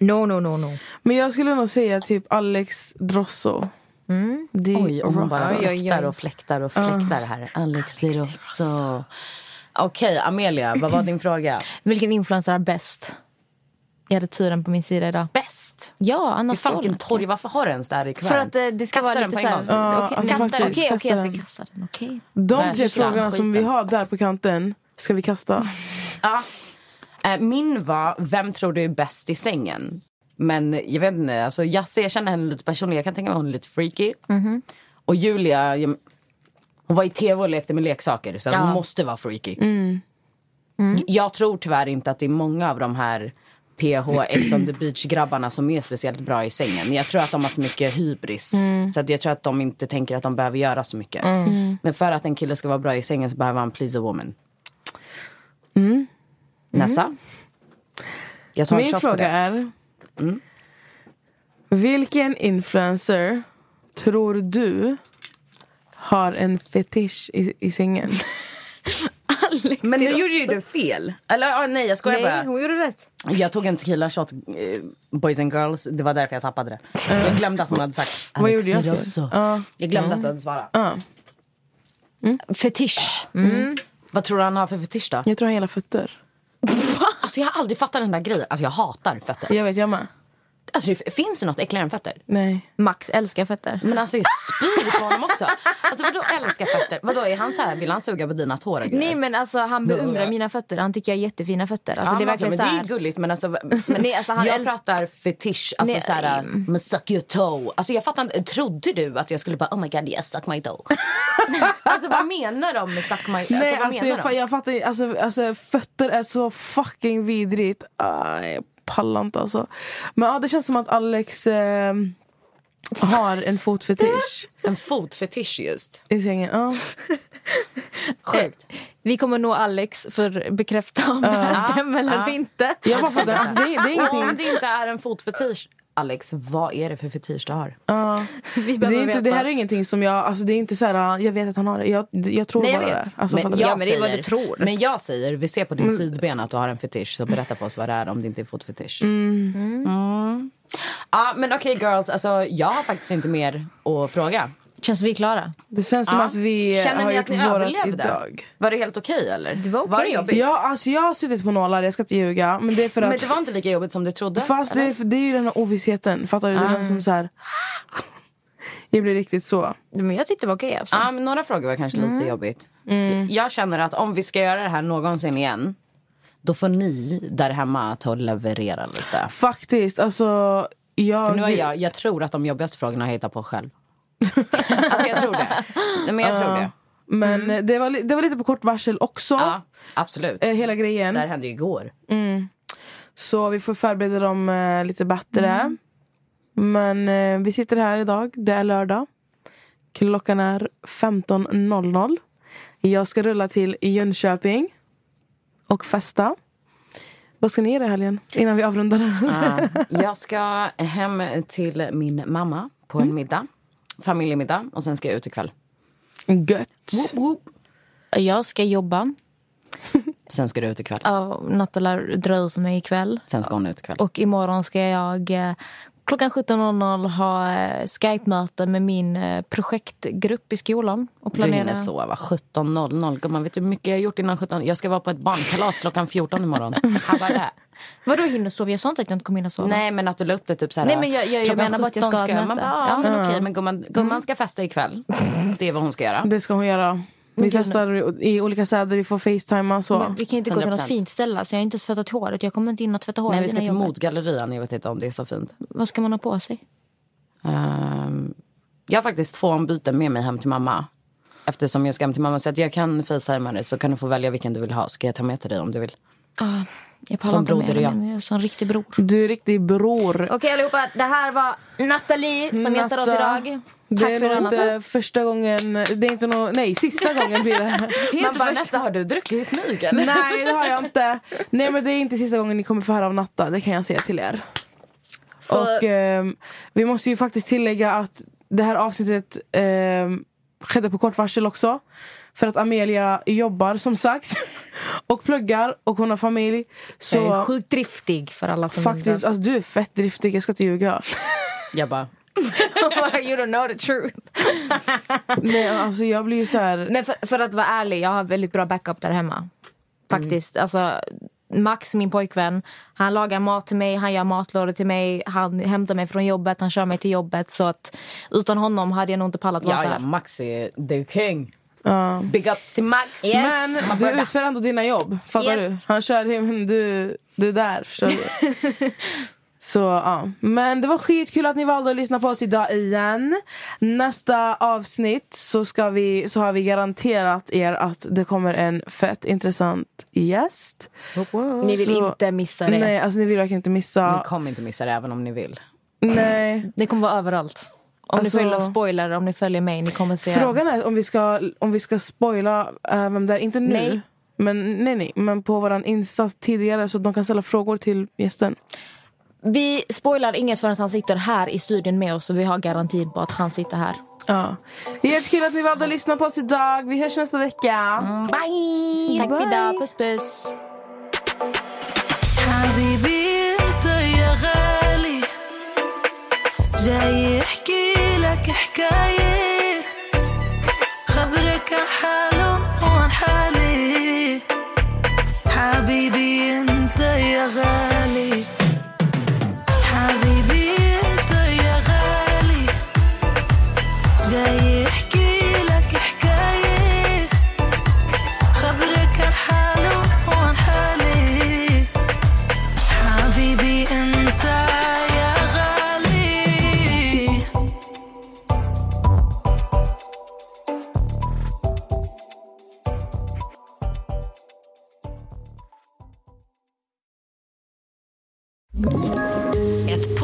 D: No, no, no, no.
C: men jag skulle nog säga typ Alex Drosso.
D: Mm.
C: Det
A: Oj, och hon bara
C: Rosso.
A: fläktar och fläktar och fläktar här. Alex de Rosso. Okej, Amelia, vad var din fråga?
D: Vilken influencer är bäst? Jag hade turen på min sida idag.
A: Bäst?
D: Ja, Anna
A: Hur fan, vilken
D: Stålnacke.
A: torg, varför har du ens det här i kuvertet?
D: För att eh, det ska
A: Kasta
D: vara
A: den
D: lite
A: på
D: så
A: en
D: här...
A: gång.
C: Ja,
D: okej,
C: alltså
D: kasta den.
C: faktiskt,
D: Okej, okej,
C: kasta
D: jag ska
C: den.
D: kasta den. Okej.
C: De tre
A: Värsta
C: frågorna som vi
A: skiten.
C: har där på kanten ska vi kasta.
A: Ja. Eh, Min var, vem tror du är bäst i sängen? Men jag vet inte, alltså Jasse, jag känner henne lite personligt. Jag kan tänka mig att hon är lite freaky. Och Julia, jag, hon var i tv och lekte med leksaker så hon
C: Ja. Mm.
A: måste vara freaky. Mm. Jag tror tyvärr inte att det är många av de här PH, Ex on the beach-grabbarna som är speciellt bra i sängen. Jag tror att de har för mycket hybris.
D: Mm.
A: Så att jag tror att de inte tänker att de behöver göra så mycket.
D: Mm. Mm.
A: Men för att en kille ska vara bra i sängen så behöver han please a woman.
C: Mm.
A: Nessa? Jag tar en
C: Min
A: shot på
C: fråga
A: det.
C: är,
A: Mm.
C: vilken influencer tror du har en fetisch i, i sängen.
A: Men nu gjorde ju du fel. Eller ja, nej, jag skojar
D: Nej,
A: bara.
D: hon gjorde rätt.
A: Jag tog en tequila shot, eh, boys and girls. Det var därför jag tappade det. Jag glömde att hon hade sagt
C: Vad gjorde jag
A: det
C: för?
A: också.
C: Ja.
A: Jag glömde
C: Mm.
A: att du hade svarat.
D: Fetisch.
A: Mm. Vad tror du han har för fetisch då?
C: Jag tror han gillar fötter.
A: Alltså, jag har aldrig fattat den där grejen. Alltså, jag hatar fötter.
C: Jag vet, jag med.
A: Alltså, det- finns det något äckligare än fötter?
C: Nej.
D: Max älskar fötter.
A: Men alltså jag spyr på honom också. Alltså vadå älskar fötter? Vadå är han så här, vill han suga på dina tår? och grejer?
D: Nej men alltså han beundrar mina fötter. Han tycker jag har jättefina fötter. Alltså,
A: Ja,
D: det
A: men
D: är verkligen
A: okej,
D: så
A: men
D: här...
A: det är gulligt men alltså,
D: Men nej, alltså, han
A: jag
D: älsk-
A: pratar fetisch, alltså
D: Nej.
A: så här, men suck your toe. Alltså jag fattar inte, trodde du att jag skulle bara oh my god yes suck my toe? alltså vad menar de med suck my alltså,
C: Nej,
A: vad
C: alltså,
A: menar
C: jag,
A: de?
C: fa- jag fattar inte. alltså, alltså, fötter är så fucking vidrigt. Ah, jag pallar inte alltså. Men ja, det känns som att Alex eh, har en fotfetisch
A: En fotfetisch just.
C: i sängen. Ja.
D: Sjukt. Eh, Vi kommer nå Alex för att bekräfta om det här stämmer eller
A: ja.
D: inte.
C: Jag bara fattar, alltså, det, det är
A: Och
C: ingenting.
A: Om det inte är en fotfetisch, Alex vad är det för fetisch du har?
C: Ja. Det,
D: behöver
C: är inte, det
D: veta.
C: här är ingenting som jag... Alltså, det är inte så här, jag vet att han har det. Jag, jag tror
A: Nej, jag
C: bara
A: vet.
C: det. Alltså, fattar
A: men,
C: du? Mm.
A: jag säger, men jag säger, vi ser på din sidben att du har en fetisch. Så berätta för oss vad det är om det inte är fotfetisch.
C: Mm.
A: Mm. Ja, men okej girls, alltså, jag har faktiskt inte mer att fråga.
D: Känns vi klara?
C: Det känns som
A: Ja.
C: att vi
A: Känner
C: har
A: ni att
C: gjort
A: ni
C: vårat
A: överlevde?
C: idag.
A: Var det helt okej eller? Det var, det jobbigt?
C: Ja, alltså, jag har suttit på nålar, jag ska inte ljuga. Men det är för att...
A: Men det var inte lika jobbigt som du trodde?
C: Fast det,
A: eller? Ah.
C: är- det är ju den här ovissheten. Fattar du? Det är den som så här... Jag blir riktigt så.
D: Men jag tyckte det var okej. alltså.
A: Ja, men några frågor var kanske lite jobbigt. Jag känner att om vi ska göra det här någonsin igen då får ni där hemma ta och leverera lite.
C: Faktiskt, alltså... Jag,
A: För nu har jag, jag tror att de jobbigaste frågorna har jag hittat på själv. alltså jag tror det. Nej, men jag tror
C: Ja.
A: det.
C: Men det, var, li- det var lite på kort varsel också.
A: Mm. Ja, Ehm. absolut.
C: Eh, hela grejen.
A: Det här hände ju igår.
C: Mm. Så vi får förbereda dem eh, lite bättre.
A: Mm.
C: Men eh, vi sitter här idag. Det är lördag. Klockan är 15.00. Jag ska rulla till Jönköping och festa. Vad ska ni göra i helgen? Innan vi avrundar.
A: Ja. Jag ska hem till min mamma på en middag. Familjemiddag. Och sen ska jag ut ikväll.
C: Gött.
D: Jag ska jobba.
A: Sen ska du ut ikväll.
D: Ja, Natta lär dra ut mig ikväll.
A: Sen ska hon ut ikväll.
D: Och imorgon ska jag eh, klockan 17.00 ha eh, Skype-möte med min eh, projektgrupp i skolan. Och
A: Du
D: planera.
A: hinner sova. 17.00. Gumman, vet du hur mycket jag har gjort innan 17? Jag ska vara på ett barnkalas klockan 14 imorgon. How about that?
D: Vadå hinner sova? Jag sa inte att jag inte kommer hinna sova.
A: Nej, men att du la upp det typ så här.
D: Nej, men jag- jag- jag
A: klockan
D: menar bara att jag ska
A: 17
D: ha ett
A: Man
D: möte.
A: bara, ja, Mm.
D: Ja.
A: men okej, men gumman, gumman ska festa ikväll. Det är vad hon ska göra.
C: Det ska hon göra. Vi festar i olika städer, vi får facetima. Så.
D: Men vi kan ju inte gå till något
A: 100%.
D: fint ställe. Så jag har inte svettat håret. Jag kommer inte in och tvätta håret
A: Nej, vi ska
D: innan
A: till
D: jobbet.
A: Modgallerian. Jag vet inte om det är så fint.
D: Vad ska man ha på sig?
A: Ehm, jag har faktiskt två ombyten med mig hem till mamma. Eftersom jag ska hem till mamma. Så att jag kan facetima dig så kan du få välja vilken du vill ha. Ska jag ta med till dig om du vill?
D: Ah, jag pallar
A: Som
D: inte med
A: broder är jag.
D: henne. Jag är en eh, sån riktig bror.
C: Du är riktig bror.
D: Okej allihopa, det här var Nathalie som gästade oss
C: Natta.
D: idag.
C: Det
D: Tack
C: är
D: för
C: nog
D: det.
C: inte första gången, det är inte nog, nej sista gången blir det.
A: Man bara, nästa har du druckit i smyg eller?
C: nej det har jag inte. Nej men det är inte sista gången ni kommer få höra av Natta, det kan jag säga till er.
D: Så-
C: Och ehm, vi måste ju faktiskt tillägga att det här avsnittet ehm, skedde på kort varsel också. För att Amelia jobbar som sagt och pluggar och hon har familj. Så
D: Jag är sjukt driftig för alla som
C: faktiskt, alltså, du är fett driftig, jag ska inte ljuga.
A: Jag bara,
D: undrar. you don't know the truth.
C: nej, alltså, jag blir ju så här...
D: Men för, för att vara ärlig, jag har väldigt bra backup där hemma. Faktiskt. Alltså, Max, min pojkvän, han lagar mat till mig, han gör matlådor till mig, han hämtar mig från jobbet, han kör mig till jobbet. Så att utan honom hade jag nog inte pallat vara
A: ja,
D: så
A: ja,
D: här.
A: Max är the king.
C: ja.
A: Big ups till Max.
C: Men du utför ändå dina jobb. Fattar
D: Yes.
C: du? Han kör hem, du, du är där. Förstår du? Så, ja. Men det var skitkul att ni valde att lyssna på oss idag igen. Nästa avsnitt så, ska vi, så har vi garanterat er att det kommer en fett intressant gäst.
D: Ni vill
C: Så-
D: inte missa det.
C: Nej, alltså ni vill verkligen inte
A: Ni
C: missa.
A: kommer inte missa det även om ni vill.
C: Nej.
D: Det kommer vara överallt. Om
C: Alltså-
D: ni följer spoiler, om ni följer mig, ni kommer se.
C: Frågan är om vi ska, om vi ska spoila eh, vem det är. Inte nu.
D: Nej.
C: Men, nej, nej. Men på våran Insta tidigare så att de kan ställa frågor till gästen.
D: Vi spoilar inget förrän han sitter här i studion med oss och vi har garanti på att han sitter här.
C: Ja. Jättekul att ni valde att lyssna på oss idag. Vi hörs nästa vecka.
D: Bye! Tack för idag. Puss, puss.
B: حبيبي انت يا غالي جاي يحكي لك حكاية خبرك عن حاله وعن حالي حبيبي انت يا غالي حبيبي انت يا غالي جاي يحكي لك حكاية خبرك عن حاله وعن حالي حبيبي انت يا غالي
H: Ett